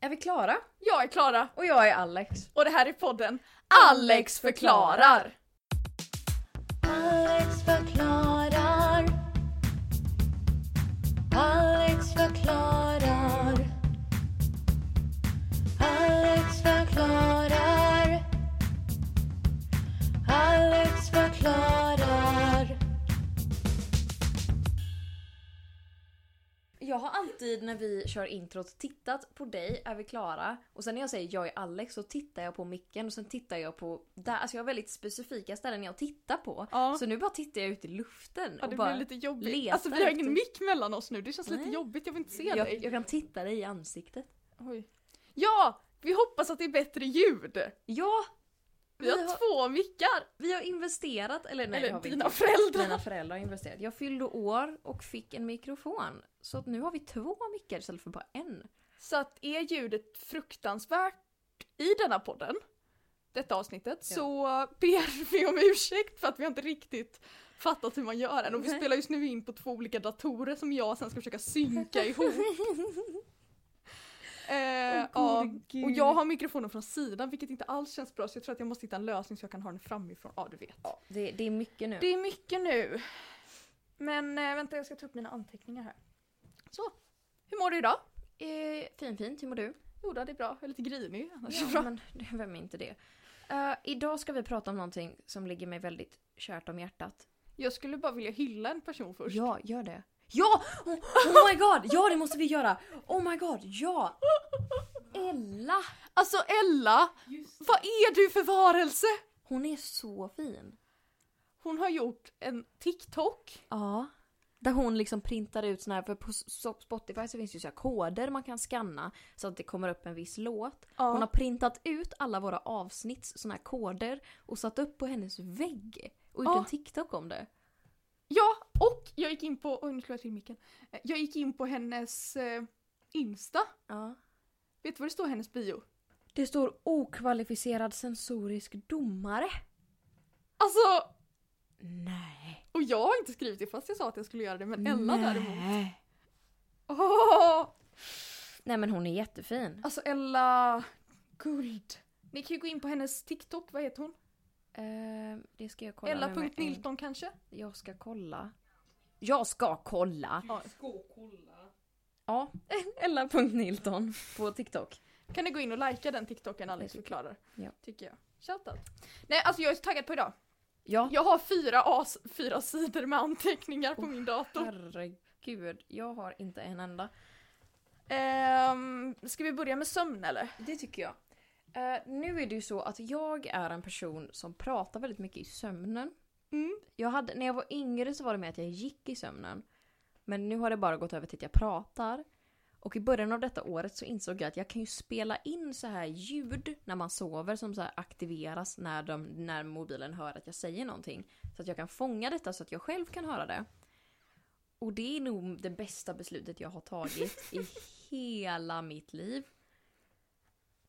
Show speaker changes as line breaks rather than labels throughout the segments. Är vi klara?
Jag är Klara
Och jag är Alex.
och det här är podden
Alex
Alex förklarar.
Alex förklarar. Alex förklarar. Alex förklarar. Alex förklarar.
Jag har alltid när vi kör introt tittat på dig, är vi klara? Och sen när jag säger jag är Alex så tittar jag på micken och sen tittar jag på där. Alltså jag har väldigt specifika ställen jag tittar på.
Ja.
Så nu bara tittar jag ut i luften
Ja,
och
det
bara...
blir lite jobbigt.
letar
Alltså vi har
efter-
ingen mick mellan oss nu, det känns lite
Nej.
jobbigt, jag vill inte se
jag,
dig.
jag kan titta dig i ansiktet.
Oj. Ja! Vi hoppas att det är bättre ljud.
Ja!
Vi har två mickar!
vi har investerat, eller nej det
Eller
har vi
dina
inte. Mina
föräldrar.
föräldrar har investerat. Jag fyllde år och fick en mikrofon. Så att nu har vi två mickar istället för bara en.
Så att är ljudet fruktansvärt i denna podden, detta avsnittet,
Ja.
så ber vi om ursäkt för att vi har inte riktigt fattat hur man gör än. Och vi
Nej.
spelar just nu in på två olika datorer som jag sen ska försöka synka ihop. Eh, ja.
gode
och
gud.
jag har mikrofonen från sidan vilket inte alls känns bra så jag tror att jag måste hitta en lösning så jag kan ha den framifrån. Ja du vet.
Det, det är mycket nu.
Det är mycket nu. Men eh, vänta jag ska ta upp mina anteckningar här. Så. Hur mår du idag?
Eh, fin fint, hur mår du?
Jo då, det är bra. Jag är lite grinig annars. är det
Ja,
bra.
men vem är inte det? Eh, idag ska vi prata om någonting som ligger mig väldigt kärt om hjärtat.
Jag skulle bara vilja hylla en person först.
Ja, gör det. Ja! Oh, oh my god! Ja, det måste vi göra! Oh my god, ja! Ella!
Alltså Ella! Vad är du för varelse?
Hon är så fin.
Hon har gjort en TikTok.
Ja. Där hon liksom printar ut såna här, för på S- Spotify så finns det ju så här koder man kan scanna så att det kommer upp en viss låt.
Ja.
Hon har printat ut alla våra avsnitts såna här koder och satt upp på hennes vägg och gjort
Ja.
en TikTok om det.
Ja, och jag gick in på... Oj, nu slår jag till micken. Eh, Jag gick in på hennes eh, Insta.
Ja.
Vet du vad det står i hennes bio?
Det står okvalificerad sensorisk domare.
Alltså,
Nej.
och jag har inte skrivit det fast jag sa att jag skulle göra det, men Ella däremot.
Nej.
Åh!
Nej men hon är jättefin.
Alltså Ella... Guld. Ni kan ju gå in på hennes TikTok, vad heter hon?
Eh, det ska jag kolla nu med en-
Ella.Nilton kanske?
Jag ska kolla. Jag ska kolla!
Ja.
Ja, Ella.Nilton på TikTok.
Kan ni gå in och likea den TikToken Alex
Det tycker
förklarar?
Ja.
Tycker jag. Shoutout. Nej alltså jag är så taggad på idag.
Ja, Oh.
Jag har fyra, as, fyra sidor med anteckningar på min dator.
herregud. Jag har inte en enda.
Ehm, ska vi börja med sömn eller?
Det tycker jag. Eh, nu är det ju så att jag är en person som pratar väldigt mycket i sömnen.
Mm.
Jag hade, när jag var yngre så var det med att jag gick i sömnen. Men nu har det bara gått över till att jag pratar. Och i början av detta året så insåg jag att jag kan ju spela in så här ljud när man sover som så här aktiveras när, de, när mobilen hör att jag säger någonting. Så att jag kan fånga detta så att jag själv kan höra det. Och det är nog det bästa beslutet jag har tagit i hela mitt liv.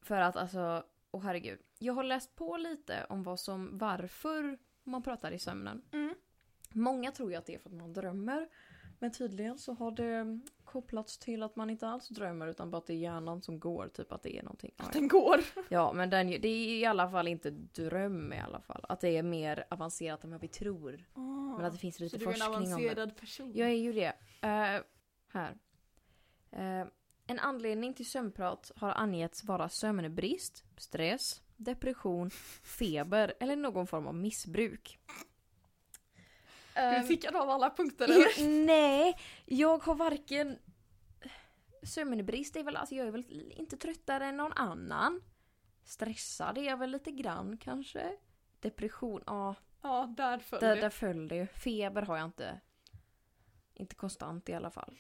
För att alltså, åh herregud. Jag har läst på lite om vad som, varför man pratar i sömnen.
Mm.
Många tror ju att det är för att man drömmer. Men tydligen så har det kopplats till att man inte alls drömmer utan bara att det är hjärnan som går, typ att det är någonting. Ja, ja.
Den går.
Ja, men den, det är i alla fall inte dröm i alla fall. Att det är mer avancerat än vad vi tror. Men att det finns
Ah. så
lite
du är en
forskning om det.
avancerad person.
Jag är ju det. Eh, här. Eh, en anledning till sömnprat har angetts vara sömnbrist, stress, depression, feber eller någon form av missbruk.
Du
Ehm,
tickade av alla punkter eller?
nej, jag har varken... Sömnbrist är väl, alltså jag är väl inte tröttare än någon annan. Stressad är jag väl lite grann kanske. Depression, ja.
Ja, där föll
Där,
det.
där föll det ju. Feber har jag inte. Inte konstant i alla fall.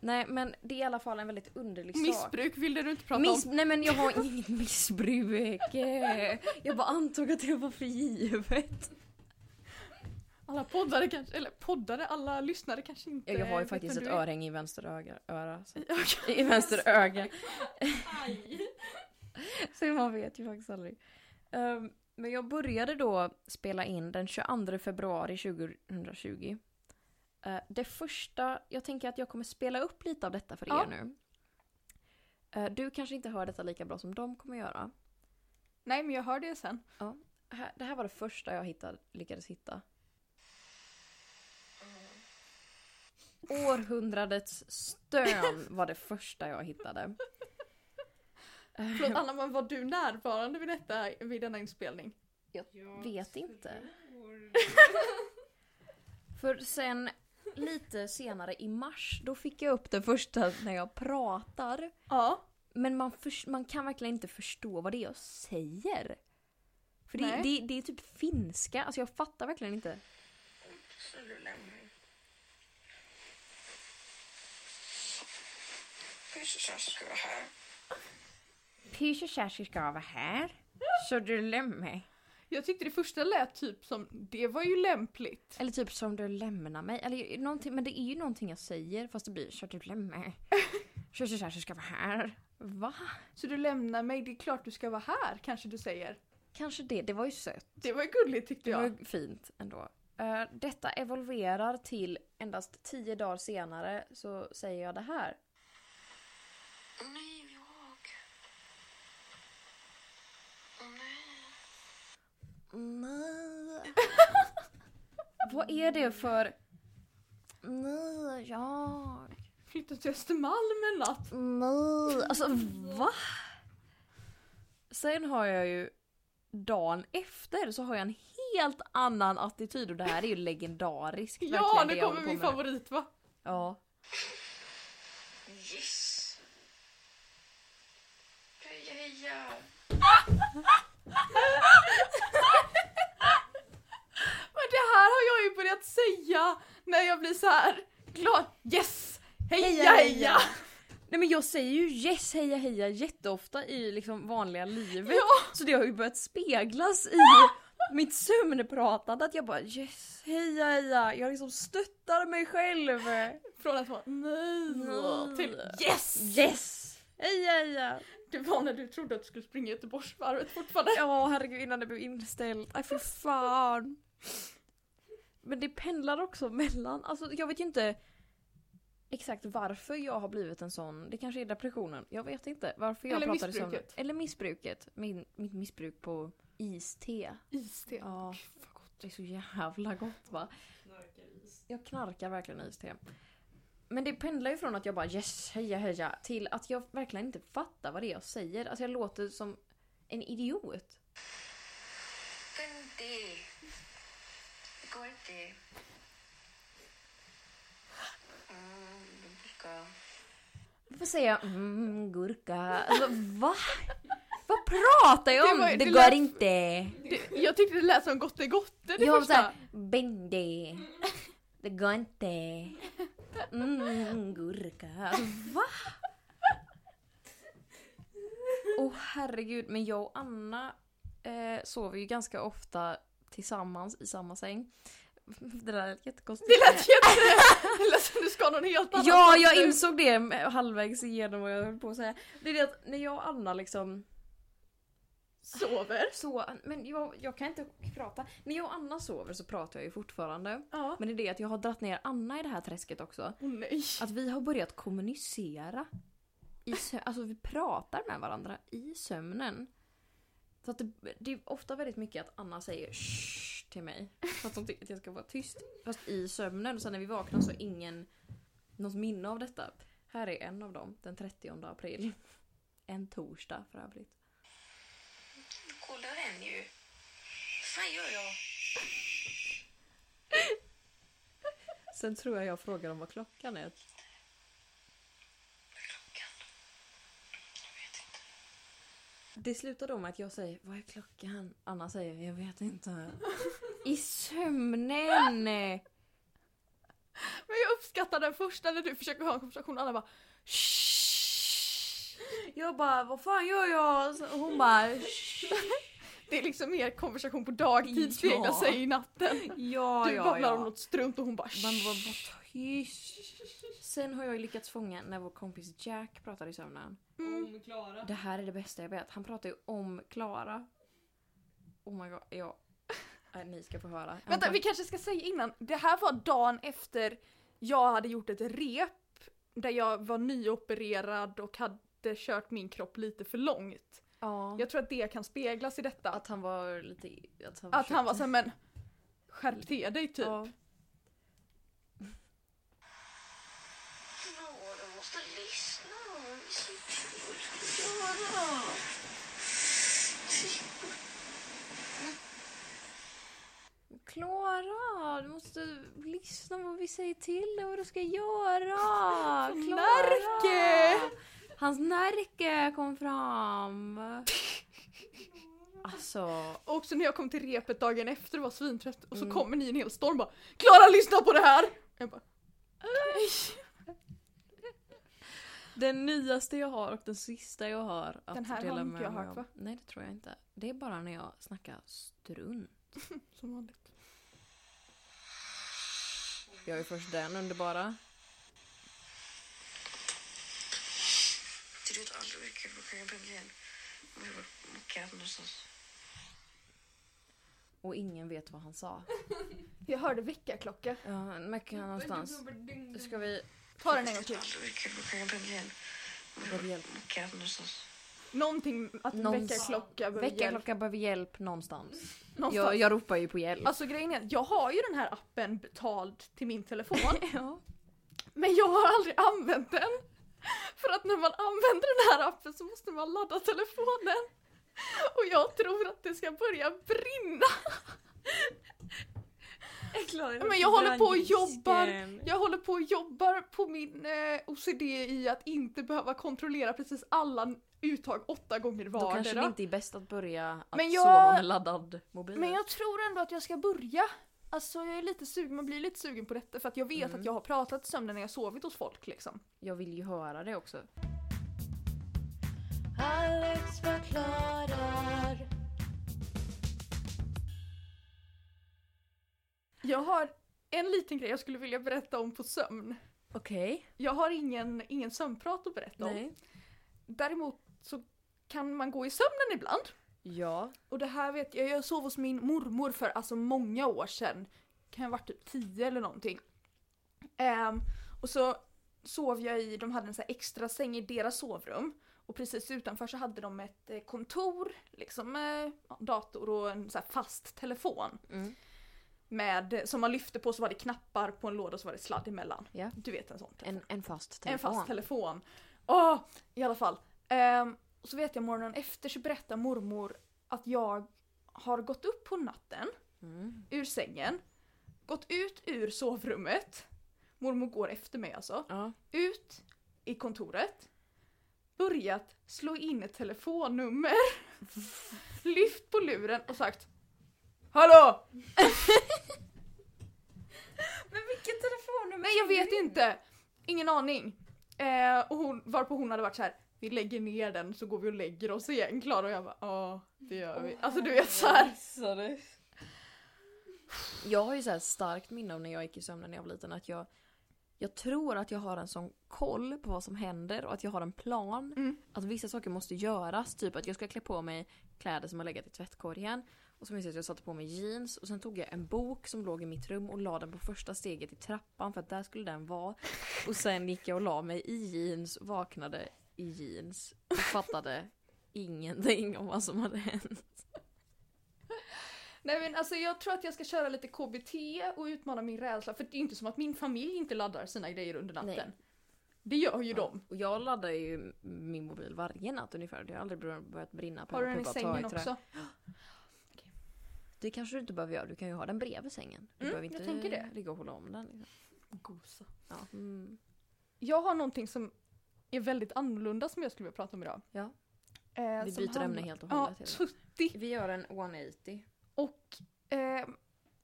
Nej men det är i alla fall en väldigt underlig sak.
Missbruk ville du inte prata
Miss-
om.
Nej men jag har inget missbruk. Jag bara antog att det var för givet.
Alla poddare kanske, eller poddare, alla lyssnare kanske inte
Jag, jag har ju
vet
faktiskt
vem
ett
du är.
örhänge i vänster öga. Öra, så.
Okej.
I vänster öga. så man vet ju faktiskt aldrig. Ehm, men jag började då spela in den 22 februari 2020. Eh, det första, jag tänker att jag kommer spela upp lite av detta för
Ja.
er nu. Eh, Du kanske inte hör detta lika bra som de kommer göra.
Nej, men jag hör det sen.
Här- Det här var det första jag hittade, lyckades hitta. Århundradets stön var det första jag hittade.
Förlåt Anna, men var du närvarande vid, detta, vid denna inspelning?
Vet inte. För sen lite senare i mars, då fick jag upp det första när jag pratar.
Ja.
Men man, förs- man kan verkligen inte förstå vad det är jag säger. För det,
Nej.
det, det är typ finska, alltså jag fattar verkligen inte. Pyschashashi ska vara här. Så du lämnar
Jag tyckte det första lät typ som, det var ju lämpligt.
Eller typ som du lämnar mig. Eller någonting, men det är ju någonting jag säger fast det blir så du lämnar mig. Så så så så ska vara här. Va?
Så du lämnar mig, det är klart du ska vara här, kanske du säger.
Kanske det. Det var ju sött.
Det var ju gulligt tyckte
Det var
jag.
ju fint ändå. Eh, detta evolverar till endast tio dagar senare så säger jag det här.
Nej, jag. Åh nej.
Nej. Vad är det för... Nej, jag...
Flytta till Östermalm en natt.
Nej, alltså va? Sen har jag ju dagen efter så har jag en helt annan attityd och det här är ju legendariskt.
Ja,
verkligen, det
nu
jag
kommer
håller
min
på med.
favorit va?
Ja.
Yes. Heja, heja.
Men det här har jag ju börjat säga när jag blir så här glad. Yes! Heja heja!
Nej men jag säger ju yes heja heja jätteofta i liksom vanliga livet.
Ja.
Så det har ju börjat speglas i mitt sömnpratande att jag bara yes heja heja. Jag liksom stöttar mig själv.
Från att vara nej
Nej.
till yes!
Yes! Heja heja.
Det var när du trodde att du skulle springa Göteborgsvarvet fortfarande.
Ja, herregud innan det blev inställt. Aj för fan. Men det pendlar också mellan, alltså jag vet ju inte exakt varför jag har blivit en sån, det kanske är depressionen, jag vet inte varför jag
Eller
pratar i sömnen.
missbruket.
Eller missbruket. Min, mitt missbruk på iste.
Iste.
Ja. Det är så jävla gott va? Jag knarkar verkligen iste. Men det pendlar ju från att jag bara yes, heja heja till att jag verkligen inte fattar vad det är jag säger. Alltså jag låter som en idiot.
Men det. Det går inte. Mm, det brukar-
Varför säger jag mm, gurka? Alltså, va? Vad pratar jag om?
Det var-
Det,
det
går
lät-
inte.
Det, jag tyckte det lät som gottegotte det
Jag var
första.
såhär, bendy. Det går inte. Mm, gurka. Alltså, va? Åh oh, herregud, men jag och Anna eh, sover ju ganska ofta tillsammans i samma säng. Det där lät jättekonstigt.
Det lät jätte... Det lät som du ska någon helt annan
Ja,
plats
jag
nu.
insåg det med- halvvägs igenom vad jag höll på att säga. Det är det att när jag och Anna liksom
Sover.
så, men jag, jag kan inte prata. När jag och Anna sover så pratar jag ju fortfarande.
Ja.
Men det är det att jag har dratt ner Anna i det här träsket också.
Åh nej.
Att vi har börjat kommunicera. I sö- alltså vi pratar med varandra i sömnen. Så att det, det är ofta väldigt mycket att Anna säger shh till mig. För att hon tycker att jag ska vara tyst. Fast i sömnen. Och sen när vi vaknar så har ingen något minne av detta. Här är en av dem. Den 30 april. En torsdag för övrigt.
Kolla den ju. Fan gör jag?
Sen tror jag jag frågar om vad klockan är.
Vad är klockan? Jag vet inte.
Det slutar då med att jag säger Vad är klockan? Anna säger Jag vet inte. I sömnen!
Men jag uppskattar den första när du försöker ha en konversation och alla bara "Shh."
Jag bara Vad fan gör jag? Så Alltså, Hon bara "Shh,
Det är liksom mer konversation på dagtid speglar
Ja.
sig i natten.
Ja,
Du
ja,
babblar
ja.
om något strunt och hon bara
Man
"Shh."
bara "Vad tyst. Sen har jag ju lyckats fånga när vår kompis Jack pratar i sömnen.
Om Klara.
Det här är det bästa jag vet. Han pratar ju om Klara. Oh my god. Ja. Nej, ni ska få höra. Han
Vänta,
pratar-
vi kanske ska säga innan. Det här var dagen efter jag hade gjort ett rep där jag var nyopererad och hade lite kört min kropp lite för långt.
Ja.
Jag tror att det kan speglas i detta. Att,
Att han var lite... Att han,
han var såhär men skärp till dig typ.
Ja.
Nå, du måste lyssna. Det är så kul att göra.
Klara, du måste lyssna på vad vi säger till dig vad du ska göra. Klara!
Närke!
Hans närke kom fram. Alltså,
Och också när jag kom till repet dagen efter och var svintrött och så
Mm.
kommer ni i en hel storm bara Klara lyssna på det här! Jag bara
den nyaste jag har och den sista jag har att
Den här har
dela
inte
med
jag
mig
hört,
av-
va?
Nej, det tror jag inte. Det är bara när jag snackar strunt.
som vanligt.
Jag är först den underbara.
Det låter aldrig mycket kul att sjunga bredvid. Om jag var mockad någonstans.
Och ingen vet vad han sa.
Jag hörde väckarklocka.
Ja, en macka någonstans. Ska vi...
Ta den en gång
Det
till.
låter aldrig mycket kul att sjunga bredvid. Om jag
Behöver
var
hjälp.
mockad någonstans.
Någonting att en
Någonstans.
väckarklocka behöver hjälp.
Väckarklocka behöver hjälp någonstans.
Någonstans.
Jag, jag ropar ju på hjälp.
Alltså grejen är, jag har ju den här appen betald till min telefon.
Ja.
Men jag har aldrig använt den. För att när man använder den här appen så måste man ladda telefonen. Och jag tror att det ska börja brinna. Men jag håller på och jobbar. Jag håller på och jobbar på min eh, OCD i att inte behöva kontrollera precis alla uttag åtta gånger
Då kanske det
vardera.
inte är bäst att börja att
Men jag-
sova med laddad mobil.
Men jag tror ändå att jag ska börja. Alltså jag är lite sugen, man blir lite sugen på detta för att jag vet
Mm.
att jag har pratat i sömnen när jag sovit hos folk liksom.
Jag vill ju höra det också.
Alex förklarar.
Jag har en liten grej jag skulle vilja berätta om på sömn.
Okej.
Jag har ingen, ingen sömnprat att berätta om.
Nej.
Däremot så kan man gå i sömnen ibland.
Ja.
Och det här vet jag, jag sov hos min mormor för alltså många år sedan. Kan jag ha varit typ 10 eller någonting. Ehm, och så sov jag i, de hade en så här extra säng i deras sovrum. Och precis utanför så hade de ett eh, kontor, liksom eh, ja, dator och en så här fast telefon.
Mm.
Med, som man lyfte på så var det knappar på en låda och så var det sladd emellan.
Ja.
Du vet en sån telefon.
En, en fast telefon.
En fast telefon. Åh, i alla fall. Ehm, och så vet jag morgonen efter så berättar mormor att jag har gått upp på natten
Mm.
ur sängen, gått ut ur sovrummet, mormor går efter mig alltså,
Ja.
ut i kontoret, börjat slå in ett telefonnummer, lyft på luren och sagt Hallå!
Men vilket telefonnummer?
Nej jag vet inte! Ingen aning. Eh, och hon, varpå hon hade varit så här. Vi lägger ner den så går vi och lägger oss igen Klara och jag bara ja det gör vi. Alltså du vet så här.
Jag har ju så här starkt minne av när jag gick i sömnen när jag var liten att jag jag tror att jag har en sån koll på vad som händer och att jag har en plan.
Mm.
Att vissa saker måste göras. Typ att jag ska klä på mig kläder som har legat i tvättkorgen. Och så minns jag att jag satte på mig jeans och sen tog jag en bok som låg i mitt rum och la den på första steget i trappan för att där skulle den vara. Och sen gick jag och la mig i jeans, vaknade i jeans och fattade ingenting om vad som hade hänt.
Nej men alltså jag tror att jag ska köra lite KBT och utmana min rädsla för det är ju inte som att min familj inte laddar sina grejer under natten.
Nej.
Det gör ju de.
Och jag laddar ju min mobil varje natt ungefär. Det har aldrig bör- börjat brinna på
Har du
en
den i
pump att ta
sängen
i trä.
också?
Det kanske du inte behöver göra. Du kan ju ha den bredvid sängen. Du
Mm,
behöver
jag
inte
tänker det.
ligga och hålla om den. Liksom.
Gosa.
Ja. Mm.
Jag har någonting som är väldigt annorlunda som jag skulle vilja prata om idag.
Ja.
Eh,
Vi
som
byter
handlar-
ämne helt och
Ja,
hållet. typ. hela.
tuttig.
Vi gör en 180.
Och eh,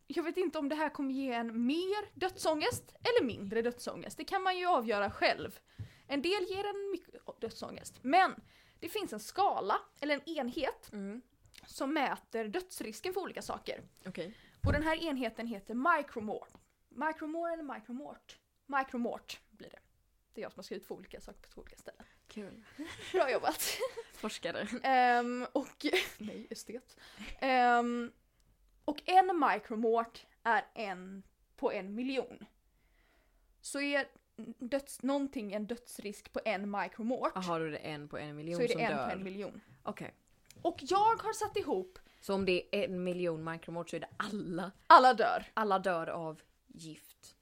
jag vet inte om det här kommer ge en mer dödsångest eller mindre dödsångest. Det kan man ju avgöra själv. En del ger en mycket dödsångest. Men det finns en skala, eller en enhet,
Mm.
som mäter dödsrisken för olika saker.
Okej.
Och den här enheten heter micromort. Micromore eller micromort? Micromort blir det. Det är jag som har skrivit två olika saker på två olika ställen.
Kul.
Bra jobbat!
Forskare.
Ehm, och... Nej, estet. Ehm, och en micromort är en på en miljon. Så är döds, någonting en dödsrisk på en mikromort
Jaha, då är det en på en miljon
så är
som
det en
dör.
på en miljon.
Okej.
Och jag har satt ihop
Så om det är en miljon mikromort så är det alla.
alla dör.
Alla dör av gift.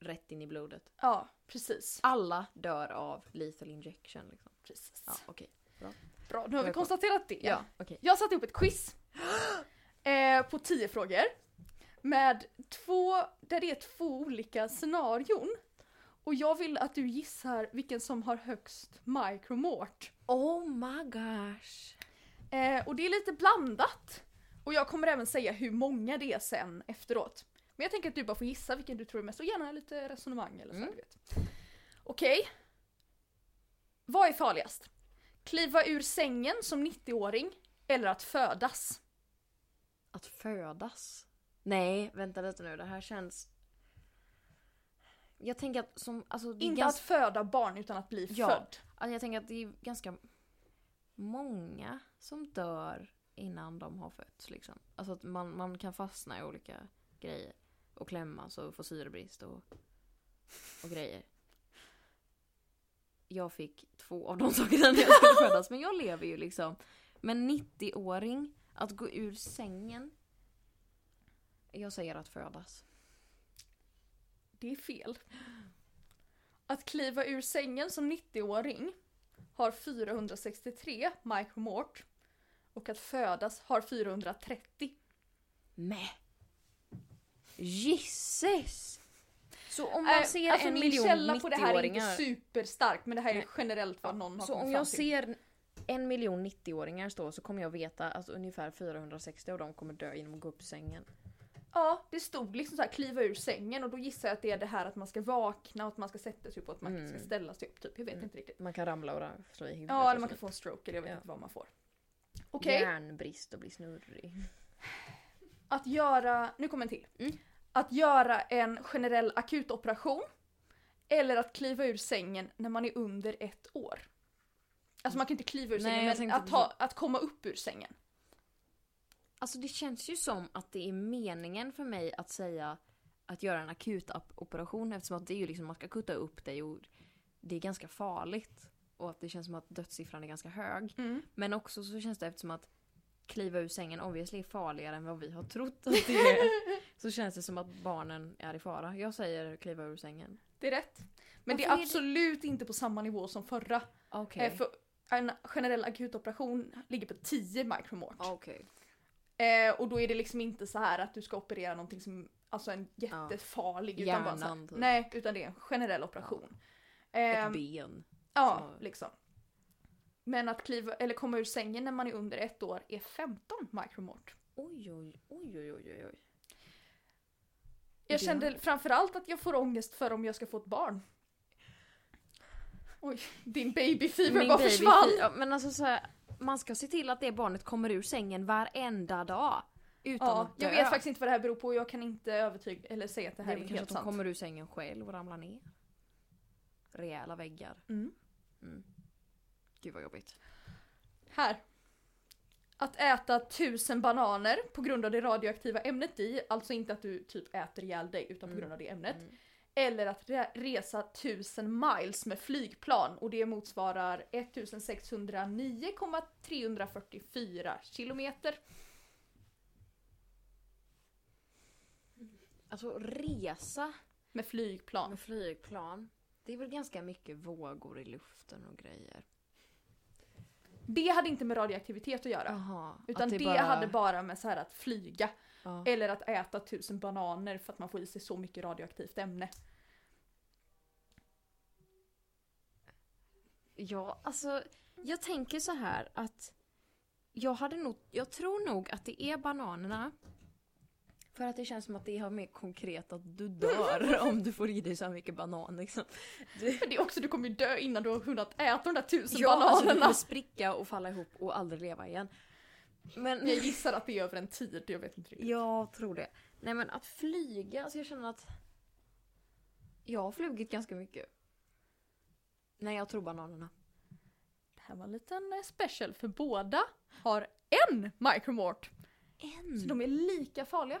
Rätt in i blodet.
Ja, precis.
Alla dör av lethal injection. Liksom.
precis.
Ja, okej.
Bra, nu har vi
Jag kom-
konstaterat det.
Ja, okej.
Jag satte ihop ett quiz eh, på tio frågor. Med två, där det är två olika scenarion. Och jag vill att du gissar vilken som har högst micromort.
Oh my gosh.
Eh, och det är lite blandat. Och jag kommer även säga hur många det är sen efteråt. Men jag tänker att du bara får gissa vilken du tror är mest och gärna lite resonemang eller så.
Mm.
Du vet. Okej. Vad är farligast? Kliva ur sängen som 90-åring eller att födas?
Att födas? Nej, vänta lite nu. Det här känns... Jag tänker att som... Alltså, det är
Inte
ganska-
att föda barn utan att bli
Ja.
född.
Alltså jag tänker att det är ganska många som dör innan de har fötts. Liksom. Alltså att man, man kan fastna i olika grejer. Och klämmas och få syrebrist och, och grejer. Jag fick två av de sakerna när jag skulle födas men jag lever ju liksom. Men 90-åring, att gå ur sängen. Jag säger att födas.
Det är fel. Att kliva ur sängen som 90-åring har 463 micromort och att födas har 430.
Med. Jesus! Så om
Nej,
man ser
alltså
en
min
miljon
källa på det här är inte
90-åringar.
superstark men det här är
Nej.
generellt vad någon har
Så
kommit
om
fram
jag
till.
ser en miljon 90-åringar stå så kommer jag veta att ungefär 460 av dem kommer dö genom att gå upp ur sängen.
Ja, det stod liksom så här kliva ur sängen och då gissar jag att det är det här att man ska vakna och att man ska sätta sig upp och att man
Mm.
ska ställa sig upp typ. Jag vet
Mm.
inte riktigt.
Man kan ramla och ra- slå i huvudet.
Ja, eller
och så
man kan få en stroke eller jag vet
Ja.
inte vad man får. Okej,
Järnbrist och bli snurrig.
att göra, nu kommer en till.
Mm.
Att göra en generell akutoperation eller att kliva ur sängen när man är under ett år. Alltså man kan inte kliva ur
Nej,
sängen
jag
men
tänkte
att, ta, att komma upp ur sängen.
Alltså det känns ju som att det är meningen för mig att säga att göra en akut op- operation eftersom att det är ju liksom man ska kutta upp dig och det är ganska farligt. Och att det känns som att dödssiffran är ganska hög.
Mm.
Men också så känns det eftersom att kliva ur sängen obviously är farligare än vad vi har trott att det är. Så känns det som att barnen är i fara. Jag säger kliva ur sängen.
Det är rätt. Men det
Varför är
är
det-
absolut inte på samma nivå som förra.
Okej.
Eh, för en generell akutoperation ligger på 10 micromort.
Okej.
Eh, och då är det liksom inte så här att du ska operera någonting som, alltså en jättefarlig. Utan bara så här,
Hjärnan typ.
nej, utan det är en generell operation. Ehm,
Ett ben.
ja,
har-
liksom. Men att kliva, eller komma ur sängen när man är under ett år är 15 micromort.
Oj oj oj oj oj oj.
Jag
Det-
kände framförallt att jag får ångest för om jag ska få ett barn. Oj, din babyfeber
Min
bara
baby
försvann.
fi- ja, Men alltså så här, man ska se till att det barnet kommer ur sängen varenda dag. Utan
Ja,
att dö.
jag vet faktiskt inte vad det här beror på och jag kan inte övertyga eller säga att det
det
här
här
är,
är kanske
helt
att de
sant.
kommer ur sängen själv och ramlar ner. Rejäla väggar.
Mm.
Gud vad jobbigt.
Här. Att äta tusen bananer på grund av det radioaktiva ämnet i, alltså inte att du typ äter ihjäl dig utan på
Mm.
grund av det ämnet.
Mm.
Eller att re- resa tusen miles med flygplan och det motsvarar 1609,344 kilometer.
Alltså resa
Med flygplan.
Med flygplan. Det är väl ganska mycket vågor i luften och grejer.
Det hade inte med radioaktivitet att göra.
Jaha.
Utan
att
det, hade bara med så här att flyga.
Ja.
Eller att äta tusen bananer för att man får i sig så mycket radioaktivt ämne.
ja, alltså jag tänker så här att jag hade nog, jag tror nog att det är bananerna. För att det känns som att det är mer konkret att du dör om du får i dig så här mycket banan liksom.
För det är också, du kommer ju dö innan du har hunnit äta de där tusen
Ja, alltså du
bananerna.
kommer spricka och falla ihop och aldrig leva igen. Men
Jag gissar att det är över en tid, jag vet inte riktigt.
Jag tror det. Nej men att flyga, alltså jag känner att jag har flugit ganska mycket. Nej jag tror bananerna.
Det här var en liten eh, special för båda har en micromort.
En?
Så de är lika farliga.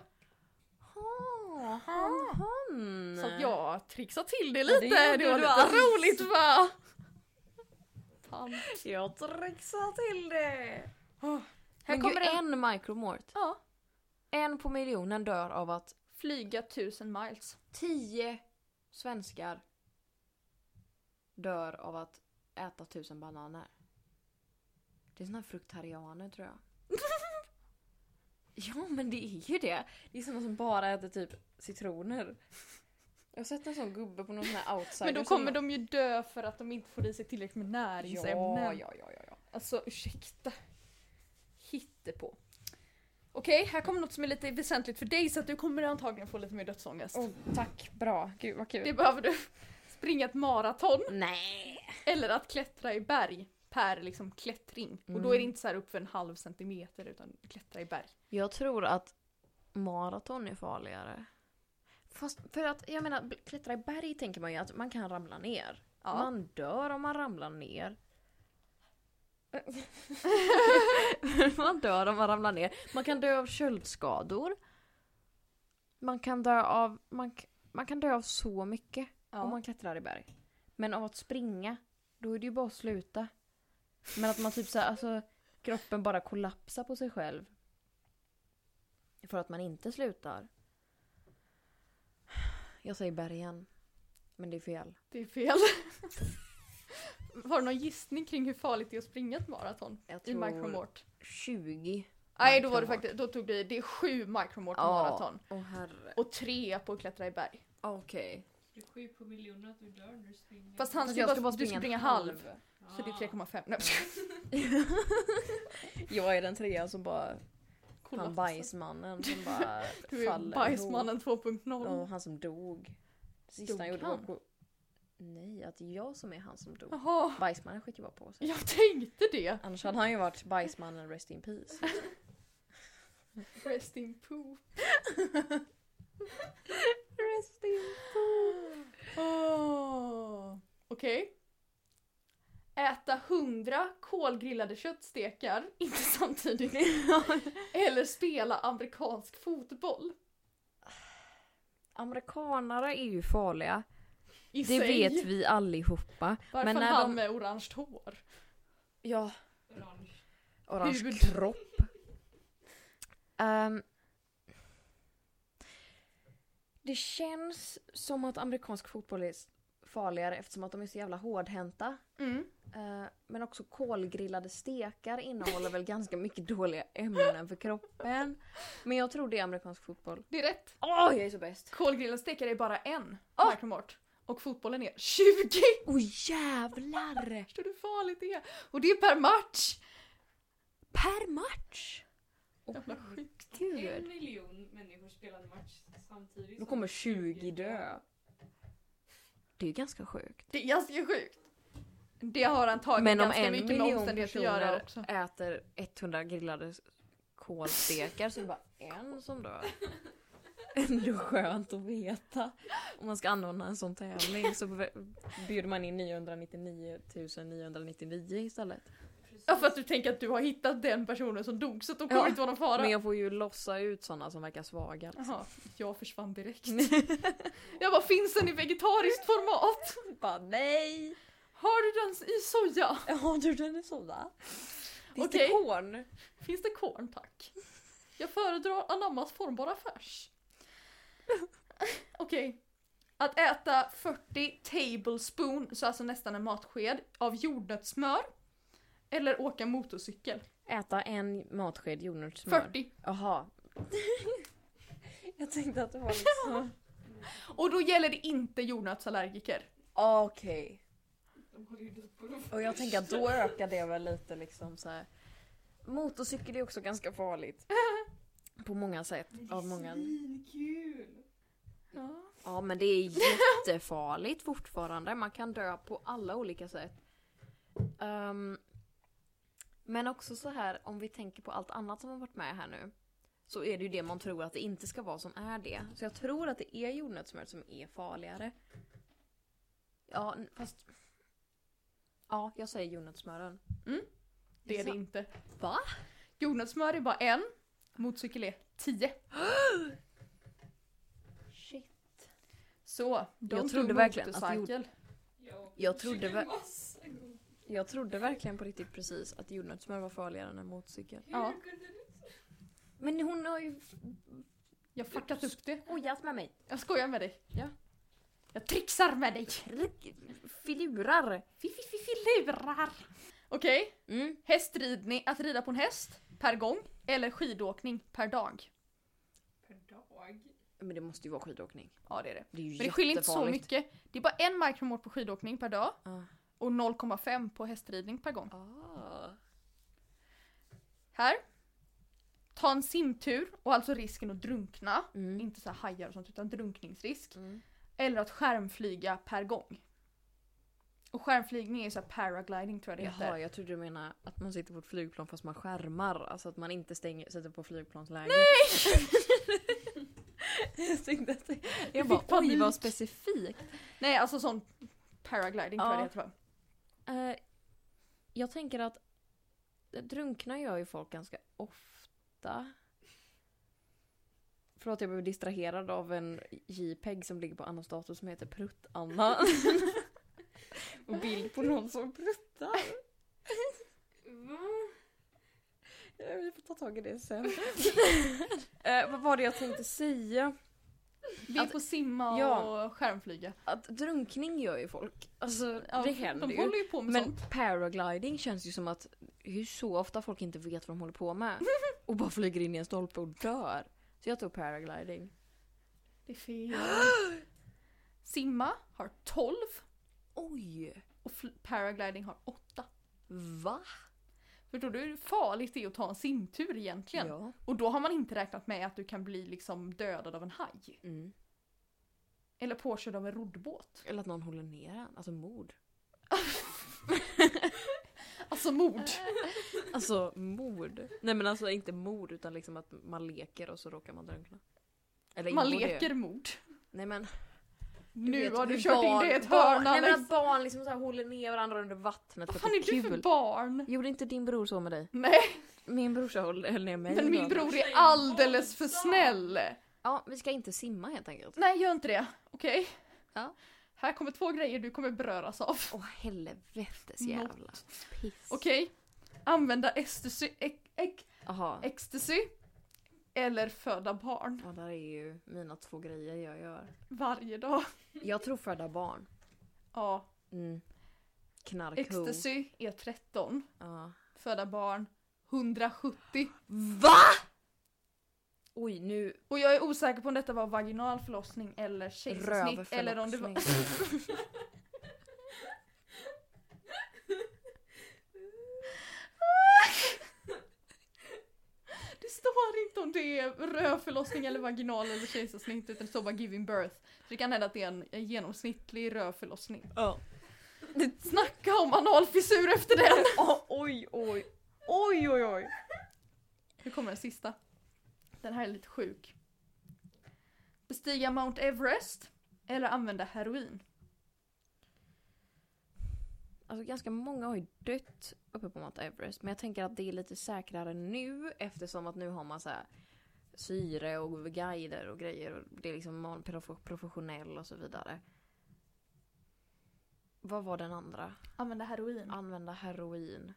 han, han.
Så att jag trixade till det
det
lite. Det,
gjorde
var
du
lite
alls.
roligt va? Fan.
jag trixar till det.
Åh,
Här
Men
Men
gud,
kommer en, en micromort.
Ja,
En på miljonen dör av att
flyga tusen miles.
tio svenskar dör av att äta tusen bananer. Det är såna här fruktarianer tror jag. ja men det är ju det. Det är såna som bara äter typ citroner. Jag har sett en sån gubbe på någon sån här outsider.
Men då
som
kommer
bara-
de ju dö för att de inte får i sig tillräckligt med näringsämnen.
Ja, ja, ja, ja, ja.
Alltså ursäkta. Hittepå. Okej, här kommer något som är lite väsentligt för dig så att du kommer antagligen få lite mer dödsångest.
Åh, tack, bra. Gud vad kul.
Det behöver du. Springa ett maraton
Nej!
eller att klättra i berg per liksom klättring. Och då är det
Mm.
inte så här upp för en halv centimeter utan klättra i berg.
Jag tror att maraton är farligare. Fast för att, jag menar, bl- klättra i berg tänker man ju att man kan ramla ner.
Ja.
Man dör om man ramlar ner. man dör om man ramlar ner. Man kan dö av köldskador. Man kan dö av, man, k- man kan dö av så mycket
Ja.
om man klättrar i berg. Men av att springa, då är det ju bara att sluta. Men att man typ så här, alltså kroppen bara kollapsar på sig själv. För att man inte slutar. Jag säger bergen. Men det är fel.
Det är fel. Har du någon gissning kring hur farligt det är att springa ett maraton?
Jag
I
tror
micromort?
20.
Nej, då var
micromort.
det faktiskt, då tog du, det är sju micromort på
Ja.
maraton.
Åh herre.
Och tre på att klättra i berg.
Okej.
Du är sju på miljonen att du dör när du springer.
Fast han
Fast
ska
Alltså, jag
bara,
ska bara
du
springa
ska
en
springa halv.
halv.
Så det är 3,5. Nej,
Jag är den trean som bara... Han
kolla.
bajsmannen som bara
Du är
faller
bajsmannen 2.0.
Ja, han som dog. Det sista
Dog
han gjorde
han?
var... på- Nej, att jag som är han som dog.
Jaha,
Bajsmannen skiter ju bara på sig.
jag tänkte det.
Annars hade han ju varit bajsmannen rest in peace.
Rest in poop.
rest in
Oh. Okej. Äta 100 kolgrillade köttstekar, inte samtidigt. Eller spela amerikansk fotboll.
Amerikanare är ju farliga.
I
Det vet vi allihopa.
Varför
Men när
han
de-
med orange hår?
Ja.
Orange.
Orange
Hud.
kropp. Ehm, det känns som att amerikansk fotboll är s- farligare eftersom att de är så jävla hårdhänta.
Mm.
Eh, Men också kolgrillade stekar innehåller väl ganska mycket dåliga ämnen för kroppen. Men jag tror det är amerikansk fotboll.
Det är rätt.
Åh, jag är så bäst!
Kolgrillade stekar är bara en
Ah.
micromort. Och fotbollen är 20!
Åh jävlar!
Förstår du hur farligt det är? Och det är per match!
Per match! Åh
Jävla sjukt.
En
gud.
miljon människor spelar en match samtidigt.
Då kommer
som
20 dö. Det är ju ganska sjukt.
Det är ganska sjukt. Det har antagligen
Men om
ganska
en
mycket med
miljon
omständigheter att göra
personer
också.
äter 100 grillade s- kolstekar så är det bara en som dör. Ändå skönt att veta. Om man ska anordna en sån tävling så be- bjuder man in 999 999 istället.
Ja för att du tänker att du har hittat den personen som dog så att då kommer
Ja,
det inte vara någon fara.
Men jag får ju lossa ut såna som verkar svaga. Liksom.
Jaha, jag försvann direkt. jag bara, finns den i vegetariskt format?
Bara nej!
Har du den i soja?
Ja du den är sådär. Finns det
Okej.
korn?
Finns det korn tack? Jag föredrar anammas formbara färs. Okej. Att äta 40 tablespoon, så alltså nästan en matsked, av jordnötssmör. Eller åka motorcykel.
Äta en matsked jordnötssmör.
40.
Jaha. jag tänkte att det var liksom...
Och då gäller det inte jordnötsallergiker.
Ah, Okej.
De håller ju dött på dem.
Och jag tänker att då ökar det väl lite liksom så här. Motorcykel är också ganska farligt. På många sätt. Av många...
Svinkul!
Ja.
Ja men det är jättefarligt fortfarande. Man kan dö på alla olika sätt. Ehm, men också så här om vi tänker på allt annat som har varit med här nu. Så är det ju det man tror att det inte ska vara som är det. Så jag tror att det är jordnötssmör som är farligare. Ja n- fast... Ja jag säger jordnötssmören.
Det är det
Sant.
inte.
Va?
Jordnötssmör är bara en, motorcykel är 10. Så, de
Jag
tog
trodde verkligen att
motorcykel.
Ja.
Jag trodde väl-
Massa gånger.
Jag trodde verkligen på riktigt precis att jordnötssmör var farligare än en motorcykel.
Hur
Ja.
kunde du?
Men hon har ju
Jag har fuckat upp det.
ojat med mig.
Jag skojar med dig. Ja. Jag trixar med dig!
Filurar!
Fififilurar! Okej,
Mm.
hästridning, att rida på en häst per gång eller skidåkning per dag.
Per dag?
Men det måste ju vara skidåkning.
Ja det är det.
Det är ju
Men det skiljer inte så
jättefarligt.
mycket. Det är bara en micromort på skidåkning per dag
Ah.
och 0,5 på hästridning per gång.
Ah.
Här. Ta en simtur och alltså risken att drunkna.
Mm.
Inte så här hajar och sånt utan drunkningsrisk.
Mm.
Eller att skärmflyga per gång. Och skärmflygning är så här paragliding tror jag det heter.
Jaha, jag trodde du menade att man sitter på ett flygplan fast man skärmar. Alltså att man inte stänger, sätter på flygplansläge. Nej! jag tänkte att det- jag bara
fick
oj vad
panik.
specifikt.
Nej alltså sån paragliding tror
Ja.
jag det heter va?
Eh, jag tänker att drunkna gör ju folk ganska ofta. Förlåt jag blev distraherad av en JPEG som ligger på Annas dator som heter Prutt-Anna. Och bild på någon som pruttar.
Va?
Eh, Vi får ta tag i det sen. eh, vad var det jag tänkte säga?
Vi är
Att-
på simma
Alltså, ja.
och skärmflyga.
Att drunkning gör ju folk. Alltså
Ja,
det händer
de
ju.
håller ju på med
Men
sånt.
paragliding känns ju som att det är ju så ofta folk inte vet vad de håller på med. Och bara flyger in i en stolpe och dör. Så jag tog paragliding.
Det är fel. Simma har 12
Oj!
och fl- paragliding har 8.
Va?
Förstår du hur farligt det är att ta en simtur egentligen?
Ja.
Och då har man inte räknat med att du kan bli liksom dödad av en haj.
Mm.
Eller påkörd av en roddbåt.
Eller att någon håller ner en. Alltså mord.
Alltså mord.
Äh, Alltså mord. Nej men alltså inte mord utan liksom att man leker och så råkar man drunkna. Eller
Man
ingår det?
leker mord.
Nej men.
Nu
vet
har
hur
du kört in det i ett hörn
Nej men
Alex.
att barn liksom så här håller ner varandra under vattnet
Vad
för
fan
att
är
det är
du för
kul.
barn?
Gjorde inte din bror så med dig?
Nej,
Min brorsa höll höll ner mig.
men min
då.
bror är alldeles för snäll.
Ja, vi ska inte simma helt enkelt.
Nej, gör inte det. Okej?
Ja.
Här kommer två grejer du kommer beröras av.
Åh helvetes jävla piss.
Okej? Använda ecstasy, ek, ek,
Jaha.
ecstasy eller föda barn
Ja, där är ju mina två grejer jag gör.
varje dag.
Jag tror föda barn.
Ja,
Mm. Knarkho.
ecstasy är 13,
Ja.
föda barn 170.
VA? Oj, nu...
Och jag är osäker på om detta var vaginal förlossning eller kejsarsnitt
Rövförlossning.
eller om det var... Det står inte om det är rövförlossning eller vaginal eller kejsarsnitt utan det står bara giving birth. Så det kan hända att det är en en genomsnittlig rövförlossning.
Ja.
Snacka om analfissur efter den!
Åh, oj, oj. Oj, oj, oj.
Nu kommer den sista. Den här är lite sjuk. Bestiga Mount Everest eller använda heroin.
Alltså ganska många har ju dött uppe på Mount Everest. Men jag tänker att det är lite säkrare nu eftersom att nu har man så här syre och guider och grejer. Och det är liksom man prof- professionell och så vidare. Vad var den andra?
Använda heroin.
Använda heroin.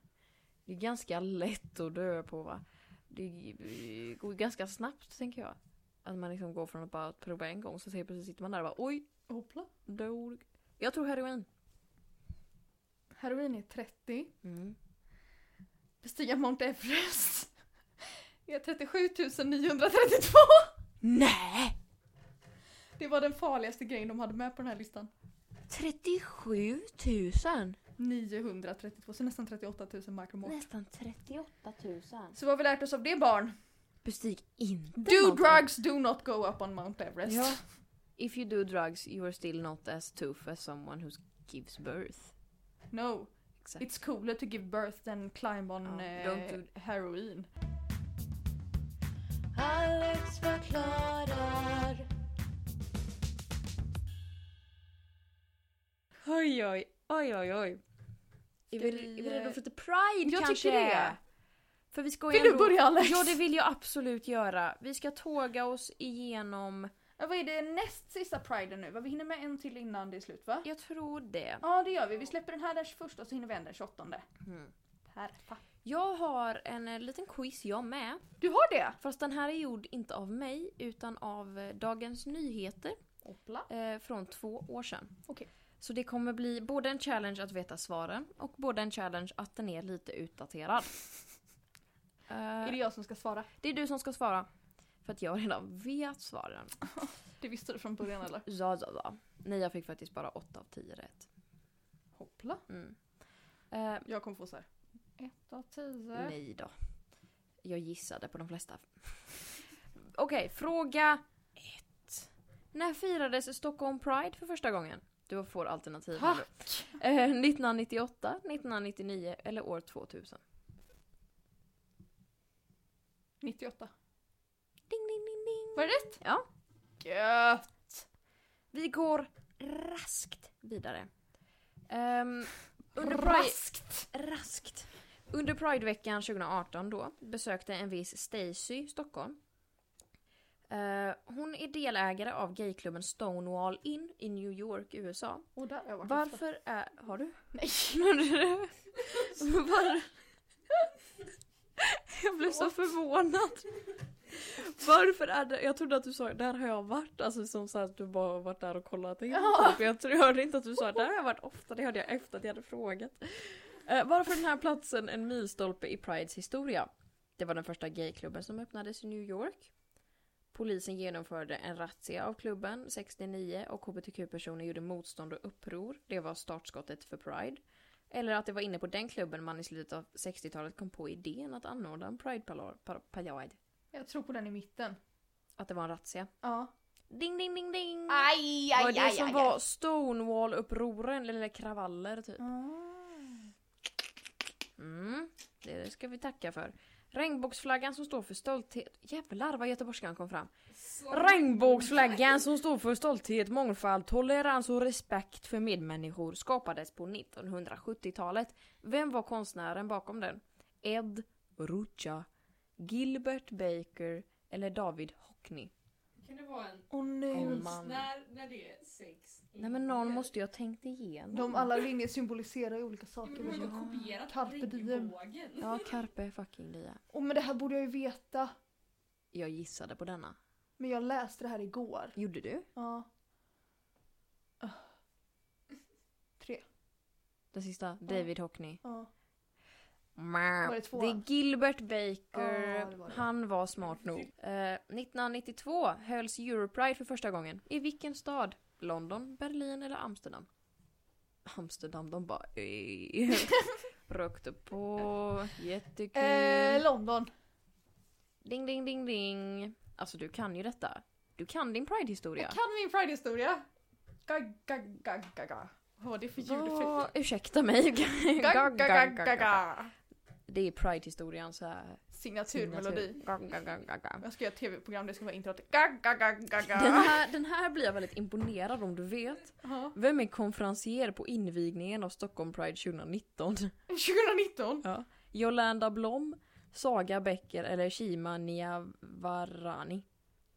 Det är ganska lätt att dö på va? Det eh, går ju ganska snabbt tänker jag. Att man liksom går från att bara prova en gång så ser precis sitter man där och bara oj,
Hoppla.
dog. Jag tror heroin.
Heroin är 30.
Mm.
Bestiga Mount Everest. Det är 37 932.
Nej!
Det var den farligaste grejen de hade med på den här listan.
37 000.
932, så nästan 38 000 micromort.
Nästan 38 000.
Så vad har vi lärt oss av det barn?
Bestig inte
Do
någonting.
drugs, do not go up on Mount Everest.
Ja. If you do drugs you are still not as tough as someone who gives birth.
No,
Exakt.
it's cooler to give birth than climb on
Ja,
eh,
don't
heroin.
Alex förklarar.
Oj, oj, oj, oj, oj. Är vi,
vi,
är vi redo
eh,
för lite pride
jag
kanske?
tycker det.
För vi ska ju
Vill du
ändå...
börja Alex?
Ja, det vill jag absolut göra. Vi ska tåga oss igenom
Ja, vad är det näst sista priden nu? Va? Vi hinner med en till innan det är slut va?
Jag tror det.
Ja det gör vi. Vi släpper den här den 21 och så hinner vi en den 28.
Mm.
Perfekt.
Jag har en eh, liten quiz jag med.
Du har det?
Fast den här är gjord inte av mig utan av eh, Dagens Nyheter
Hoppla.
eh, från två år sedan.
Okej.
Så det kommer bli både en challenge att veta svaren och både en challenge att den är lite utdaterad. Eh,
Är det jag som ska svara?
det är du som ska svara. För att jag redan vet svaren.
Det visste du från början eller?
Ja, ja, ja. Nej, jag fick faktiskt bara 8 av 10 rätt.
Hoppla.
Mm. Eh,
Jag kommer få så här. 1 av 10.
nej då. Jag gissade på de flesta. Okej, fråga ett. När firades Stockholm Pride för första gången? Du får alternativ. här nu.
Tack!
Eh, 1998, 1999 eller år 2000?
98.
Ding, ding, ding, ding.
Var det rätt?
Ja.
Gött!
Vi går raskt vidare. Ehm, under Pride...
Raskt!
Raskt. Under Prideveckan 2018 då besökte en viss Stacy Stockholm. Eh, hon är delägare av gayklubben Stonewall Inn i New York, USA.
Och där har jag varit också.
Varför är... Har du?
Nej!
Var... Jag blev så förvånad. Varför är det... Jag trodde att du sa där har jag varit. Alltså som så att du bara har varit där och kollat in.
Ja.
Typ. Jag tror- jag hörde inte att du sa där har jag varit ofta. Det hörde jag efter att jag hade frågat. Eh, varför är den här platsen en milstolpe i Prides historia? Det var den första gayklubben som öppnades i New York. Polisen genomförde en razzia av klubben 69 och hbtq-personer gjorde motstånd och uppror. Det var startskottet för Pride. Eller att det var inne på den klubben man i slutet av 60-talet kom på idén att anordna en Pride-parad.
Jag tror på den i mitten.
Att det var en razzia.
Ja.
Ding, ding, ding, ding!
Aj,
det var det som var Stonewall-upproren, eller kravaller typ.
Ah.
Mm, det ska vi tacka för. Regnbågsflaggan som står för stolthet... Jävlar vad göteborgskan kom fram.
Så-
Regnbågsflaggan som står för stolthet, mångfald, tolerans och respekt för medmänniskor skapades på 1970-talet. Vem var konstnären bakom den? Ed Rucha, Gilbert Baker eller David Hockney?
Kan det vara en
Åh nej.
Om- Man.
när, när det är sex?
Nej men någon måste ju ha tänkt igenom.
De alla linjer symboliserar ju olika
Ja,
saker. Liksom.
men de har ju kopierat
Carpe diem.
regnbågen.
Ja, carpe fucking dia.
Och men det här borde jag ju veta.
Jag gissade på denna.
Men jag läste det här igår.
Gjorde du?
Ja. Ah. Tre.
Den sista? David Hockney.
Ja.
Mär.
Var det
det
tvåan?
är Gilbert Baker.
Ja, det var det.
Han var smart nog. Eh, 1992 hölls Europride för första gången. I vilken stad? London, Berlin eller Amsterdam? Amsterdam, de bara "Ey." Rökte på, jättekul.
Eh, London.
Ding, ding, ding, ding. Alltså du kan ju detta. Du kan din Pride-historia.
Jag kan min Pride-historia. Ga, ga, ga, ga, ga. Vad var det för
Vad-
ljudeffekt?
Ursäkta mig.
Ga, ga, ga,
Gagg,
ga,
gagg, gagg.
ga.
Det är Pride-historian så här.
Signaturmelodi.
Gagg, gagg, gagg, gagg.
Jag ska göra ett tv-program det ska vara introt. Ga, ga, ga, ga,
Den
ga.
här, den här blir jag väldigt imponerad om du vet.
Ja.
Vem är konferencier på invigningen av Stockholm Pride 2019?
2019.
Jolanda Blom, Saga Becker eller Shima Niavarani?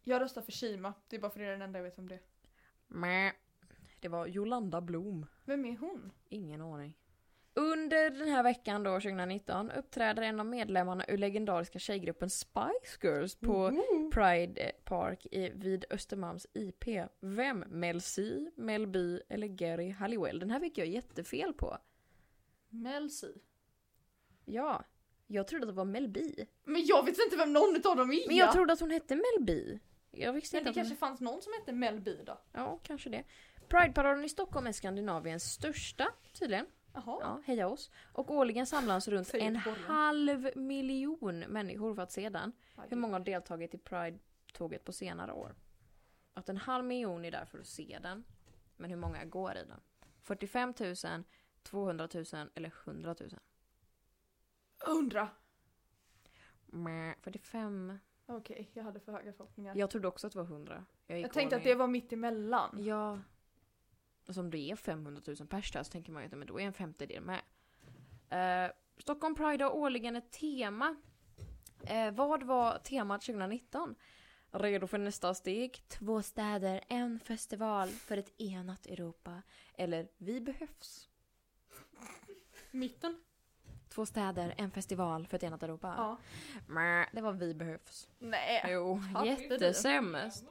Jag röstar för Shima. Det är bara för det är den enda jag vet om det.
Mä. Det var Jolanda Blom.
Vem är hon?
Ingen aning. Under den här veckan då, 2019, uppträder en av medlemmarna ur legendariska tjejgruppen Spice Girls på Pride Park i, vid Östermalms IP. Vem? Mel C, Mel B eller Gary Halliwell? Den här fick jag jättefel på.
Mel C.
Ja, jag trodde att det var Mel B.
Men jag vet inte vem någon utav dem är!
Men jag trodde att hon hette Mel B. Jag visste inte
Men det
att hon...
kanske fanns någon som hette Mel B då?
Ja, kanske det. Prideparaden i Stockholm är Skandinaviens största, tydligen.
Jaha.
Ja, heja oss. Och årligen samlas runt
Säg
en
Borgen.
halv miljon människor för att se den.
Aj,
Hur många har deltagit i Pride-tåget på senare år? Att en halv miljon är där för att se den. Men hur många går i den? 45 000, 200 000 eller 100 000?
Undra.
Mä, 45...
Okej, jag hade för höga förhoppningar. Jag,
Jag trodde också att det var 100. Jag, gick
tänkte
all
att det
in.
var mitt emellan.
Ja. Och som det är 500 000 pers där så tänker man ju att men då är en femtedel med. Eh, Stockholm Pride har årligen ett tema. Eh, vad var temat 2019? Redo för nästa steg? Två städer, en festival för ett enat Europa. Eller Vi behövs.
Mitten?
Två städer, en festival för ett enat Europa.
Ja.
Mä, Det var Vi behövs.
Nej.
Jo,
Ja, det är det.
jättesämst.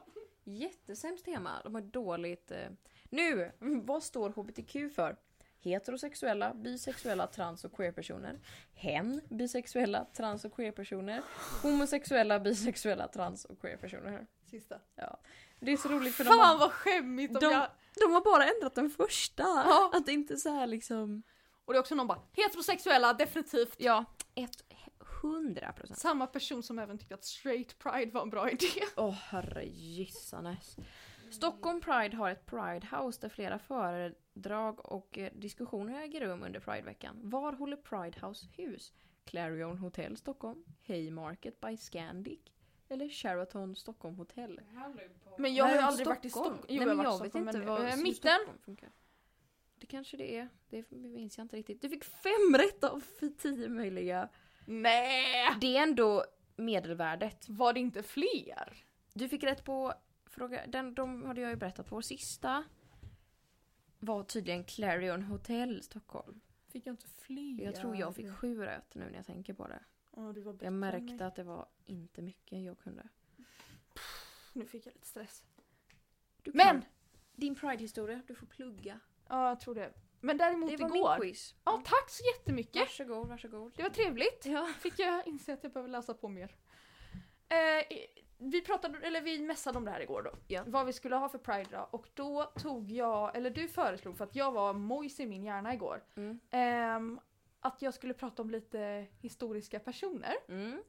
Jättesämst tema. De har dåligt... Eh... Nu! Vad står HBTQ för? Heterosexuella, bisexuella, trans och queerpersoner. Hen, bisexuella, trans och queerpersoner. Homosexuella, bisexuella, trans och queerpersoner.
Sista.
Det är så roligt för de har,
Fan vad skämmigt om
De-
jag...
de har bara ändrat den första.
Ja.
Att det inte är så här liksom...
Och det är också någon bara heterosexuella definitivt.
Ja. 100 procent.
Samma person som även tyckte att straight pride var en bra idé.
Åh oh, herregissanes. Stockholm Pride har ett Pridehouse där flera föredrag och eh, diskussioner äger rum under Prideveckan. Var håller Pridehouse hus? Clarion Hotel Stockholm, Haymarket by Scandic eller Sheraton Stockholm Hotel?
Det handlar ju på...
Men jag har
Nej,
ju aldrig varit i
Stockholm.
Stockholm.
Nej, men jag,
har varit i
vet
Stockholm,
inte
men-
vad
eh,
som
Mitten!
Stockholm funkar. Det kanske det är. Det minns jag inte riktigt. Du fick fem rätt av tio möjliga.
Nej!
Det är ändå medelvärdet.
Var det inte fler?
Du fick rätt på fråga, den, de hade jag ju berättat på. Sista var tydligen Clarion Hotel Stockholm.
Fick jag inte fler?
Jag tror jag fick sju rätt nu när jag tänker på det.
Åh, du var bättre
Jag
än
märkte
mig.
att det var inte mycket jag kunde.
Nu fick jag lite stress.
Du kan-
Men!
Din Pride-historia, du får plugga.
Ja, jag tror det. Men däremot
Det var
igår.
min quiz.
Ja, tack så jättemycket.
Varsågod, varsågod.
Det var trevligt.
Ja.
Fick jag inse att jag behöver läsa på mer. Eh, vi pratade, eller vi mässade om det här igår då.
Ja.
Vad vi skulle ha för Pride då. Och då tog jag, eller du föreslog för att jag var mojs i min hjärna igår.
Mm.
ehm, att jag skulle prata om lite historiska personer.
Mm.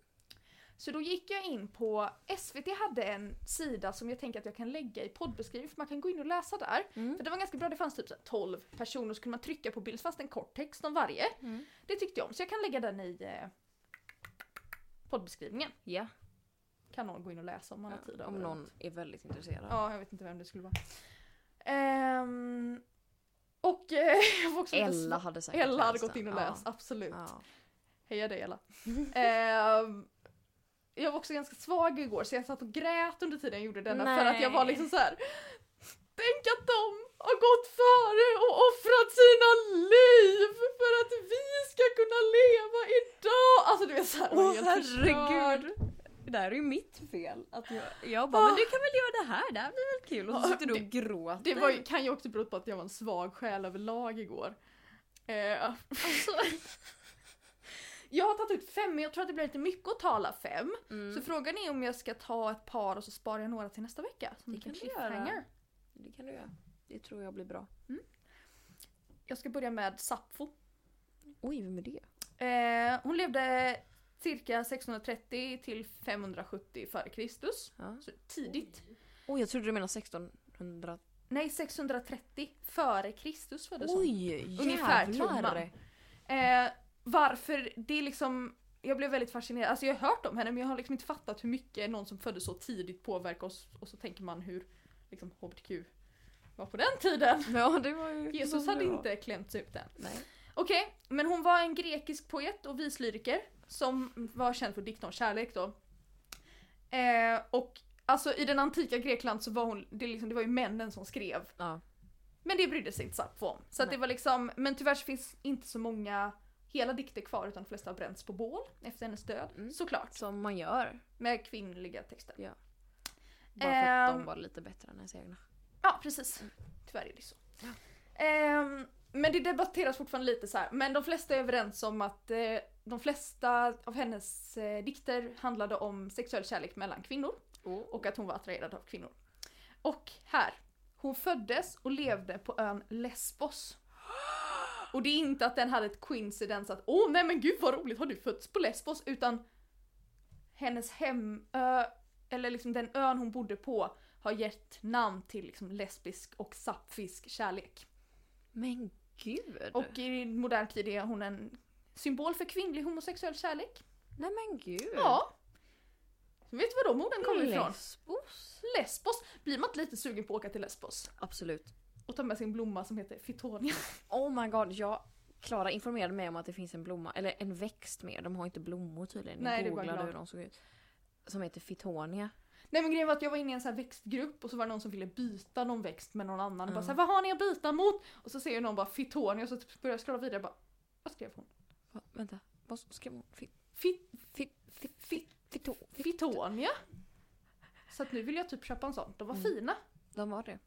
Så då gick jag in på, SVT hade en sida som jag tänker att jag kan lägga i poddbeskrivningen för man kan gå in och läsa där.
Mm.
För det var ganska bra, det fanns typ så här 12 personer så kunde man trycka på bild så fanns det en kort text om varje.
Mm.
Det tyckte jag om så jag kan lägga den i eh, poddbeskrivningen.
Ja,
Kan någon gå in och läsa om man har
om
tid över det.
någon är väldigt intresserad.
Ja, jag vet inte vem det skulle vara. Ehm, och eh, jag var också lite
Ella
sm-
hade säkert
Ella hade
läst
gått
den.
in och
Ja.
läst, absolut.
Ja.
Heja dig Ella. Ehm, jag var också ganska svag igår så jag satt och grät under tiden jag gjorde denna för att jag var
Nej.
liksom så här. Tänk att de har gått före och offrat sina liv för att vi ska kunna leva idag! Alltså du vet såhär,
Åh herregud! Det där är ju mitt fel. Att jag, jag bara, men du kan väl göra det här, det här blir väl kul? Och så sitter du och gråter.
Det var, ju- kan ju också bero på att jag var en svag själ överlag igår. Eh, jag har tagit ut fem men jag tror att det blir lite mycket att tala fem.
Mm.
Så frågan är om jag ska ta ett par och så sparar jag några till nästa vecka. Som
Det
en
kan du
cliffhanger.
göra. Det kan du göra. Det tror jag blir bra.
Jag ska börja med Sappho.
Oj, vem är det?
Eh, hon levde cirka 630 till 570 före Kristus.
Ja.
Så tidigt.
Oj, jag trodde du menade 1600.
Nej, 630 före Kristus föddes hon.
Oj, jävlar!
Ungefär trumman. Eh, varför det är liksom... Jag blev väldigt fascinerad. Alltså jag har hört om henne men jag har liksom inte fattat hur mycket någon som föddes så tidigt påverkar oss. Och så tänker man hur liksom, HBTQ var på den tiden.
Ja, det var ju...
Jesus hade inte klämts ut än.
Nej.
Okej, men hon var en grekisk poet och vislyriker som var känd för dikten om kärlek då. Eh, och alltså i den antika Grekland så var hon, det, liksom, det var ju männen som skrev.
Ja.
Men det brydde sig inte Sappho om. Så att det
Nej.
var liksom, men tyvärr så finns inte så många hela dikter kvar utan de flesta har bränts på bål efter hennes död.
Mm.
Såklart.
Som man gör.
Med kvinnliga texter.
Bara för att de
Ehm.
var lite bättre än ens egna.
Ja, precis. Tyvärr är det så. Ehm, men det debatteras fortfarande lite så här. men de flesta är överens om att eh, de flesta av hennes eh, dikter handlade om sexuell kärlek mellan kvinnor och att hon var attraherad av kvinnor. Och här, hon föddes och levde på ön Lesbos. Och det är inte att den hade ett coincidence att åh nej men gud vad roligt har du fötts på Lesbos utan hennes hemö, eller liksom den ön hon bodde på har gett namn till liksom lesbisk och sapfisk kärlek.
Men gud!
Och i modern tid är hon en symbol för kvinnlig homosexuell kärlek.
Nej men gud!
Ja. Vet du var de orden kommer ifrån?
Lesbos?
Lesbos. Blir man inte lite sugen på att åka till Lesbos?
Absolut.
Och ta med sin blomma som heter Fittonia.
Oh my god, jag... Klara informerade mig om att det finns en blomma, eller en växt mer, de har inte blommor tydligen.
Nej, det
jag
är bara
googlade
blad.
hur de såg ut. Som heter Fittonia.
Nej men grejen var att jag var inne i en sån här växtgrupp och så var det någon som ville byta någon växt med någon annan. Och bara
Mm.
så här, vad har ni att byta mot? Och så ser jag någon bara fittonia och så typ börjar jag scrolla vidare och bara vad skrev hon?
Va, vänta, vad skrev hon? Fi-
Fit,
fi- fi- fi- fito- fi-
fittonia? Så att nu vill jag typ köpa en sån. De var
Mm.
fina.
De var det.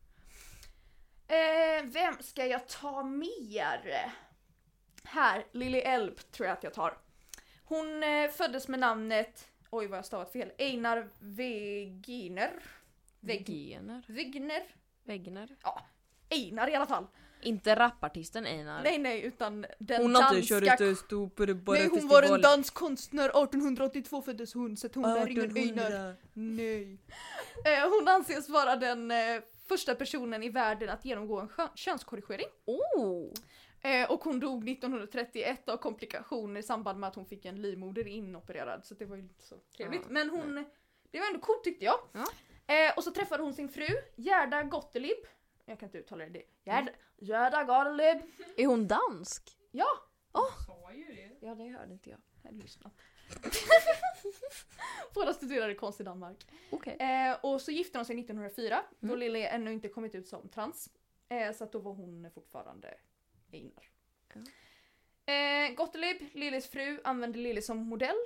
Eh, vem ska jag ta mer? Här, Lily Elp tror jag att jag tar. Hon eh, föddes med namnet, oj vad jag stavat fel, Einar Weginer. Weg-
Wegener.
Wegner?
Wegener.
Einar i alla fall.
Inte rapartisten Einar.
Nej nej utan den
hon har inte
danska...
kört ett stort på det bara
nej hon var en dansk konstnär, 1882 föddes hon så att hon är ingen Einar. Nej. Eh, hon anses vara den eh, första personen i världen att genomgå en skön- könskorrigering.
Oh!
Eh, och hon dog 1931 av komplikationer i samband med att hon fick en livmoder inopererad. Så det var ju inte så trevligt.
Ja,
Men hon, det var ändå coolt tyckte jag.
Ja.
Eh, och så träffade hon sin fru, Gerda Gottelib. Jag kan inte uttala det. Gerda,
Mm.
Gerda Gottelib.
Är hon dansk?
sa ju det.
Ja, det hörde inte jag.
Jag hade lyssnat. Båda studerade konst i Danmark.
Okej.
Eh, och så gifte de sig 1904 då
Mm.
Lily ännu inte kommit ut som trans. Eh, så att då var hon fortfarande Einar.
Ja.
Eh, Gottlieb, Lillys fru, använde Lilly som modell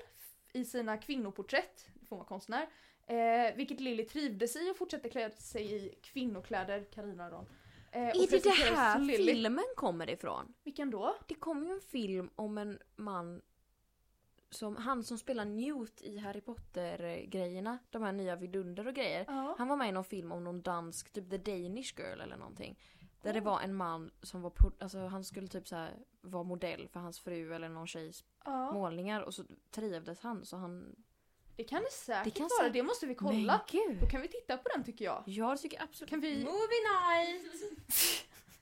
i sina kvinnoporträtt, får man konstnär. Eh, vilket Lilly trivdes i och fortsatte klä sig i kvinnokläder, Carina och Ron. Eh, och
Är det det
presenterades
här
som Lily.
filmen kommer ifrån?
Vilken då?
Det kom ju en film om en man som, han som spelar Newt i Harry Potter-grejerna. De här nya vidunder och grejer.
Ja.
Han var med i någon film om någon dansk, typ The Danish Girl eller någonting. Där det var en man som var, pro- alltså han skulle typ så här vara modell för hans fru eller någon tjejs
ja.
målningar och så trivdes han så han...
Det kan det säkert
Det kan
vara,
sä-
det måste vi kolla.
Men
Då
gud!
kan vi titta på den tycker jag.
Jag tycker absolut... Mm.
Kan vi...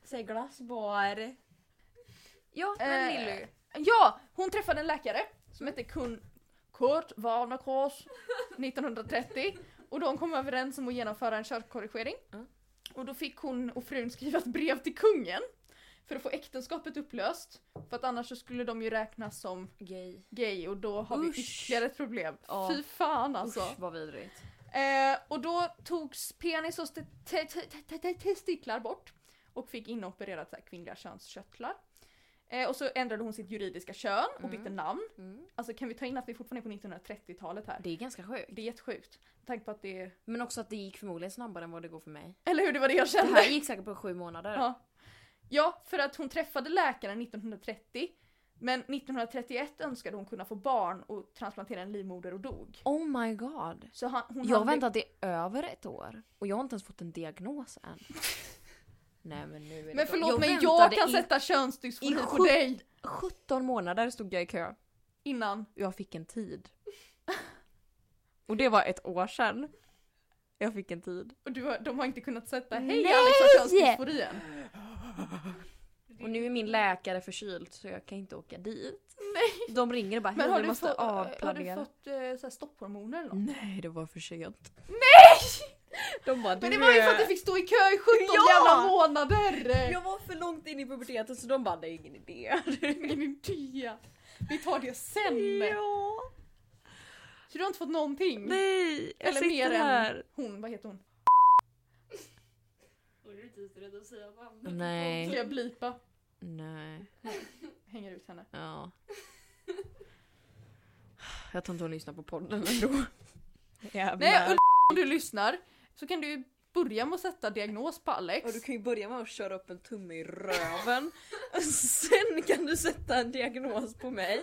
Säg glassbar. Ja, men
Eh,
Lilly.
Ja, hon träffade en läkare som hette Kun... Kurt Warnerkors 1930 och de kom överens om att genomföra en körkorrigering.
Mm.
Och då fick hon och frun skriva ett brev till kungen för att få äktenskapet upplöst. För att annars så skulle de ju räknas som
Gay.
gay och då har
Usch.
vi ytterligare ett problem.
Ja.
Fy fan alltså.
Usch vad vidrigt.
Eh, och då togs penis och st- te- te- te- te- testiklar bort och fick inopererat så här kvinnliga könskörtlar. Eh, och så ändrade hon sitt juridiska kön och
Mm.
bytte namn.
Mm.
Alltså kan vi ta in att vi fortfarande är på 1930-talet här?
Det är ganska sjukt.
Det är jättesjukt. Med tanke på att det är...
Men också att det gick förmodligen snabbare än vad det går för mig.
Eller hur, det var det jag
Det
kände!
här gick säkert på sju månader.
Ja. ja, för att hon träffade läkaren 1930 men 1931 önskade hon kunna få barn och transplantera en livmoder och dog.
Oh my god.
Så han, hon
Jag har
hade-
väntat i över ett år och jag har inte ens fått en diagnos än. Nej men nu är det
Men
bra.
förlåt
jag
men jag
väntade
kan
i
sätta könsdysfoni
i
på
sju-
dig!
17 månader stod jag i kö
Innan.
jag fick en tid. Och det var ett år sedan. Jag fick en tid.
Och du har, de har inte kunnat sätta hej
Nej!
Alex har könsdysfori än.
Och nu är min läkare förkyld så jag kan inte åka dit. Nej. De ringer och bara
Men har
"Hej, vi
du,
måste
fått, har du
avplanera.
fått eh, så här stopphormoner eller något?
Nej det var för sent. Nej! De bara,
Men
"Du
det var ju för
är-
att du fick stå i kö i 17
Ja!
jävla månader!
Jag var för långt in i puberteten så de bara det är ingen idé.
Men min tia. Vi tar det sen!
Ja.
Så du har inte fått någonting?
Nej, jag
eller mer
sitter här.
än hon, vad heter hon?
Då är du inte så rädd att säga namnet.
Mm. Nej.
Ska jag blipa?
Nej,
Hänger ut henne.
ja. Jag tror inte hon lyssnar på podden ändå.
Nej, Ulf, om du lyssnar så kan du ju börja med att sätta diagnos på Alex.
kan ju börja med att köra upp en tumme i röven. Sen kan du sätta en diagnos på mig.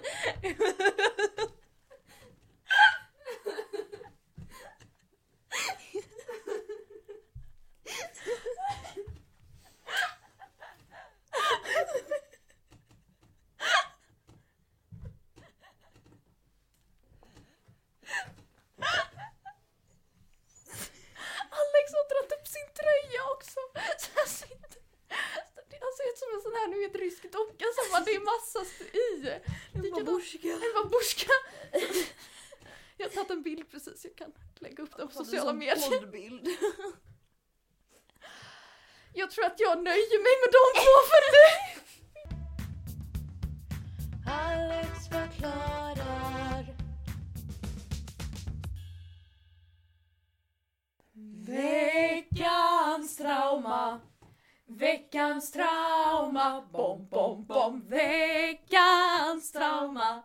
Alex har dragit upp sin tröja också! Så han sitter... Han ser ut som en sån här, nu vet, rysk docka som bara det är massa st- i. Likadant- En babusjka! Jag har tagit en bild precis, jag kan lägga upp den på sociala medier. Jag tror att jag nöjer mig med de två för nu!
Alex förklarar. trauma. Veckans trauma. Bom, bom, bom. Veckans trauma.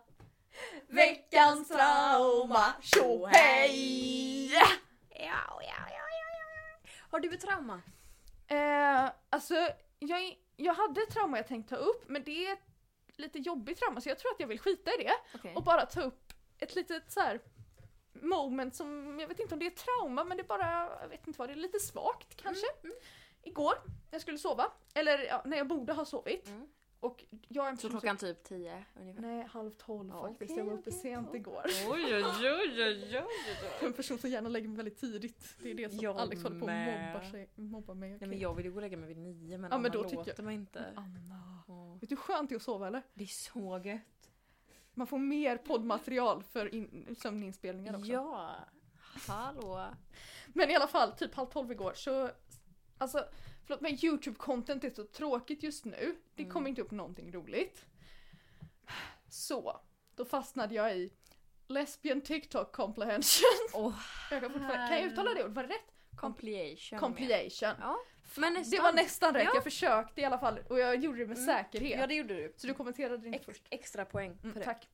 Veckans trauma. Tjo hej!
Ja, ja, ja, ja. Har du ett trauma?
Eh, alltså, jag, är- jag hade ett trauma jag tänkte ta upp men det är ett lite jobbigt trauma så jag tror att jag vill skita i det
Okej.
och bara ta upp ett litet så här moment som, jag vet inte om det är trauma men det är bara, jag vet inte vad det är, lite svagt kanske.
Mm,
Igår, när jag skulle sova, eller ja, när jag borde ha sovit
Mm.
och jag är en
Så
person som-
klockan typ tio ungefär?
Nej, halv tolv
Ja,
faktiskt.
okej,
jag var uppe
okej,
sent
okej.
igår.
Oj, oj, oj, oj,
Jag är en person som gärna lägger mig väldigt tidigt. Det är det som
Jag
Alex håller på och
med.
mobbar, sig, mobbar mig.
Nej men jag vill ju gå och lägga mig vid nio men,
Ja,
Anna
men då tycker
låter mig inte.
Anna.
Åh,
Vet du hur skönt det är att sova eller?
det är så gött.
Man får mer poddmaterial för in, sömninspelningar också.
Ja. Hallå.
Men i alla fall, typ halv tolv igår så... Alltså, förlåt men YouTube-content är så tråkigt just nu. Det
Mm.
kommer inte upp någonting roligt. Så, då fastnade jag i Lesbian TikTok comprehension.
Åh,
Jag kan, fortfarande, kan jag uttala det ordet? Var det rätt?
compliation.
Compliation.
Ja. Men nästan.
Det var nästan rätt,
Ja.
jag försökte i alla fall och jag gjorde det med
Mm.
säkerhet.
Ja det gjorde du.
Så du kommenterade det inte
Ex-
först.
extra poäng för
Mm,
det.
tack.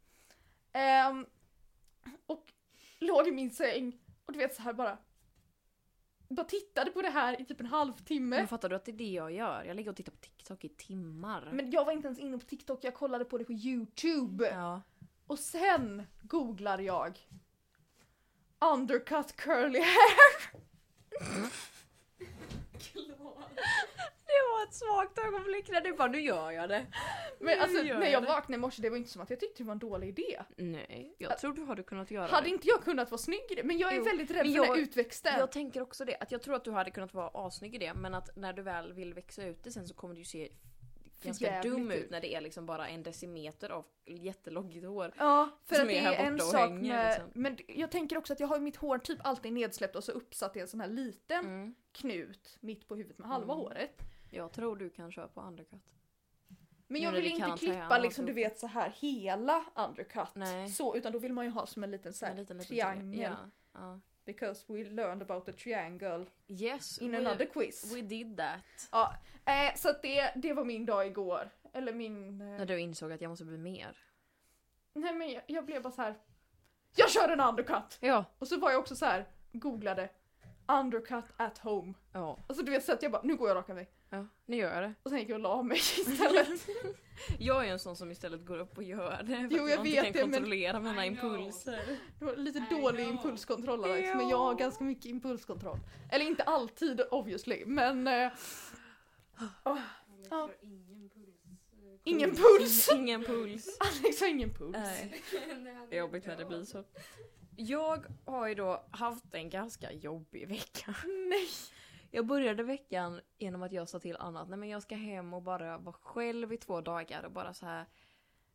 Ehm, och låg i min säng och du vet så här bara. Bara tittade på det här i typ en halvtimme.
Men fattar du att det är det jag gör? Jag ligger och tittar på TikTok i timmar.
Men jag var inte ens inne på TikTok, jag kollade på det på YouTube.
Ja.
Och sen googlar jag. Undercut curly hair.
Det var ett svagt ögonblick när du bara nu gör jag det.
Men
Nu
alltså
gör
när
jag
jag
det.
vaknade i morse det var inte som att jag tyckte det var en dålig idé.
Nej, jag tror du hade kunnat göra
Hade
det.
inte jag kunnat vara snygg i det? Men jag är
Jo,
väldigt rädd
men
för den
jag-
här utväxten.
Jag tänker också det, att jag tror att du hade kunnat vara assnygg i det men att när du väl vill växa ut det sen så kommer du ju se ganska
jävligt
dum
ut.
ut när det är liksom bara en decimeter av jätteloggigt hår.
Ja, för
Som
att det
är här
är en
borta och
sak
hänger,
med...
liksom.
Men jag tänker också att jag har ju mitt hår typ alltid nedsläppt och så uppsatt i en sån här liten
Mm.
knut mitt på huvudet med halva
Mm.
håret.
Jag tror du kan köra på undercut.
Men
Nu
jag
när
vill
det
inte
kan ta
klippa
annat
liksom du
upp.
vet så här hela undercut.
Nej. Mm.
Så, utan då vill man ju ha som en liten så här
En liten, liten
triangel.
Ja. ja.
Because we learned about the triangle
Yes,
in
we,
another quiz.
we did that.
Ja, eh, så att det, det var min dag igår. Eller min... Eh,
När du insåg att jag måste bli mer.
Nej men jag, jag blev bara så här. Jag kör en undercut!
Ja.
Och så var jag också så här, googlade undercut at home.
Ja,
Alltså du vet så att jag bara, nu går jag och rakar mig.
ja. nu gör jag det.
Och sen gick jag och la mig istället.
Jag är ju en sån som istället går upp och gör det. För
Jo,
att
jag
inte
vet
kan
det, men-
kontrollera mina
I know.
impulser.
Det var lite
I
dålig
know.
impulskontroll Alex,
Ja.
men jag har ganska mycket impulskontroll. Eller inte alltid obviously, men eh, Ja.
Ingen puls. eh,
Ingen
ingen puls!
puls.
Alex har ingen puls.
Nej.
Nej,
Det är jobbigt när det blir så. Jag har ju då haft en ganska jobbig vecka.
Nej.
Jag började veckan genom att jag sa till Anna att nej men jag ska hem och bara vara själv i två dagar och bara så här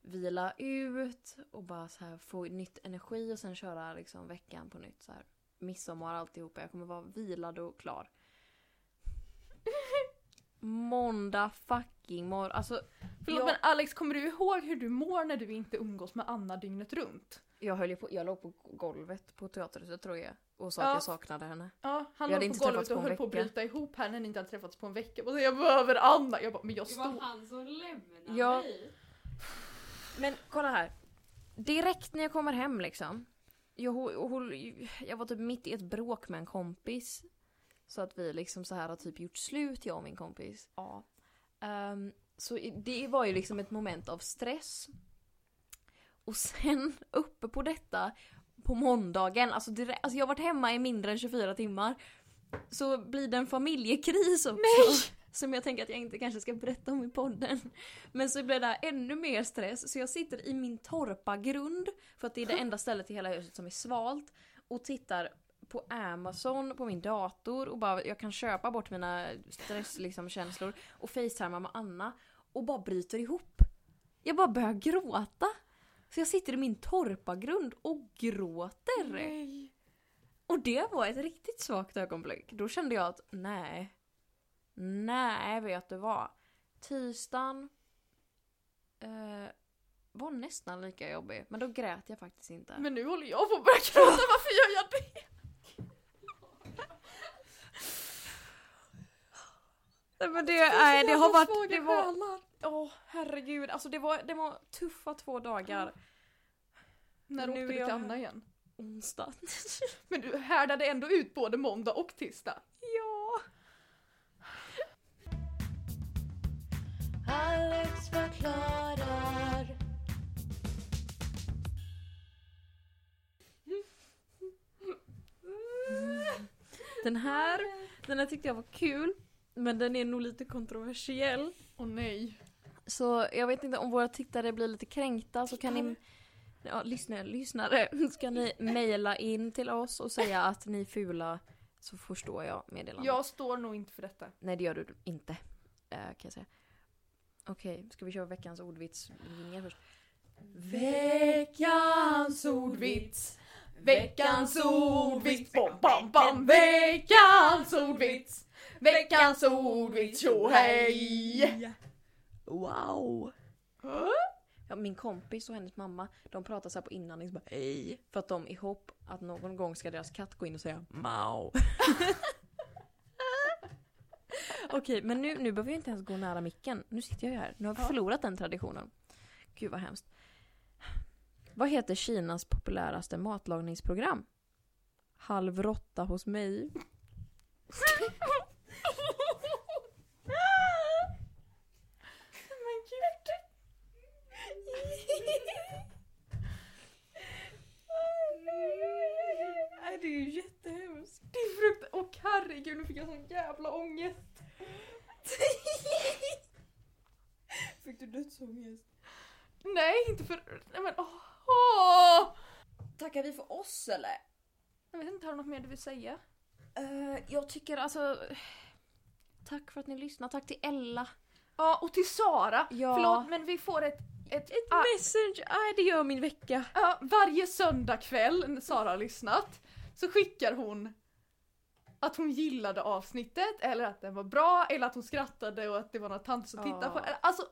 vila ut och bara så här få nytt energi och sen köra liksom veckan på nytt så här. Midsommar alltihopa. Jag kommer vara vilad och klar. Måndag fucking morgon. Alltså
Förlåt
Jag-
men Alex, kommer du ihåg hur du mår när du inte umgås med Anna dygnet runt?
jag höll ju på, jag låg på golvet på teaterhuset tror jag och sa
Ja.
att jag saknade henne.
Ja, han
Vi hade
låg på
inte
golvet
träffats på
och
en
höll på att
vecka.
bryta ihop här när ni inte hade träffats på en vecka. Och så jag behöver Anna! Jag bara, men jag
Det var
står...
han som lämnade
Ja.
mig.
Men kolla här. Direkt när jag kommer hem liksom. Jag, hå- och håll- jag var typ mitt i ett bråk med en kompis. Så att vi liksom så här har typ gjort slut, jag och min kompis. Ja. Ehm, så i- det var ju liksom ett moment av stress. Och sen uppe på detta på måndagen, alltså, direkt, alltså jag har varit hemma i mindre än 24 timmar. Så blir det en familjekris också. Som jag tänker att jag inte kanske ska berätta om i podden. Men så blir det här ännu mer stress så jag sitter i min torpagrund för att det är det enda stället i hela huset som är svalt och tittar på Amazon på min dator och bara jag kan köpa bort mina stresskänslor liksom, känslor och facetimea med Anna och bara bryter ihop. Jag bara börjar gråta. Så jag sitter i min torpagrund och gråter.
Nej.
Och det var ett riktigt svagt ögonblick. Då kände jag att nej. Nej, vet du vad? Tisdagen eh, var nästan lika jobbig. Men då grät jag faktiskt inte.
Men nu håller jag på att börja gråta, varför gör jag det?
Nej, men det, nej, det har
jävla
varit...
svaga
Det var,
själar.
åh herregud, alltså det var, det var tuffa två dagar.
När
Nu
åkte du
är jag
till
här.
Anna igen?
Onsdag.
Men du härdade ändå ut både måndag och tisdag.
ja.
Alex förklarar.
Den här, den här tyckte jag var kul. Men den är nog lite kontroversiell.
Åh nej.
Så jag vet inte om våra tittare blir lite kränkta så kan ni... Ja, lyssnare, lyssnare. Så kan ni mejla in till oss och säga att ni är fula så förstår jag meddelandet.
Jag står nog inte för detta.
Nej det gör du inte. Eh, kan jag säga. Okej, ska vi köra veckans ordvits Ingen först?
Veckans ordvits. Veckans ordvits. Bom, bom, bom.
Veckans
ordvits.
Veckans ordvits. Tjo hej!
Wow! Ja, min kompis och hennes mamma de pratar så här på inandning så bara hej. För att de i hopp att någon gång ska deras katt gå in och säga mau. Okej men nu, nu behöver jag inte ens gå nära micken. Nu sitter jag ju här. Nu har vi förlorat den traditionen. Gud vad hemskt. Vad heter Kinas populäraste matlagningsprogram? Halv råtta hos mig.
Nej det är ju jättehemskt. Det är frukt... Åh herregud nu fick jag sån jävla ångest.
Fick du dödsångest?
Nej inte för... Nej men åh!
Tackar vi för oss eller?
Jag vet inte, har du något mer du vill säga?
Eh, jag tycker alltså... Tack för att ni lyssnar. Tack till Ella.
Ja och till Sara.
Ja.
Förlåt men vi får ett... Ett, ah,
Messenger, nej det gör min vecka.
ja, varje söndagkväll när Sara har lyssnat så skickar hon att hon gillade avsnittet eller att den var bra eller att hon skrattade och att det var några tant som
Ja.
tittade på. Alltså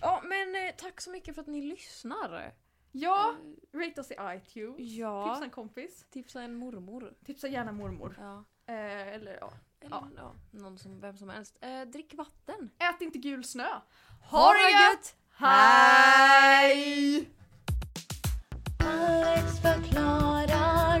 Ja men eh, tack så mycket för att ni lyssnar.
ja, rate oss i iTunes. Tipsa
Eh. Ja.
en kompis.
Tipsa en mormor.
Tipsa gärna mormor.
Ja.
Eh, eller ja.
Eller ja. någon som, vem som helst. Eh, drick vatten.
Ät inte gul snö.
Ha det gött!
Hej!
Alex förklarar.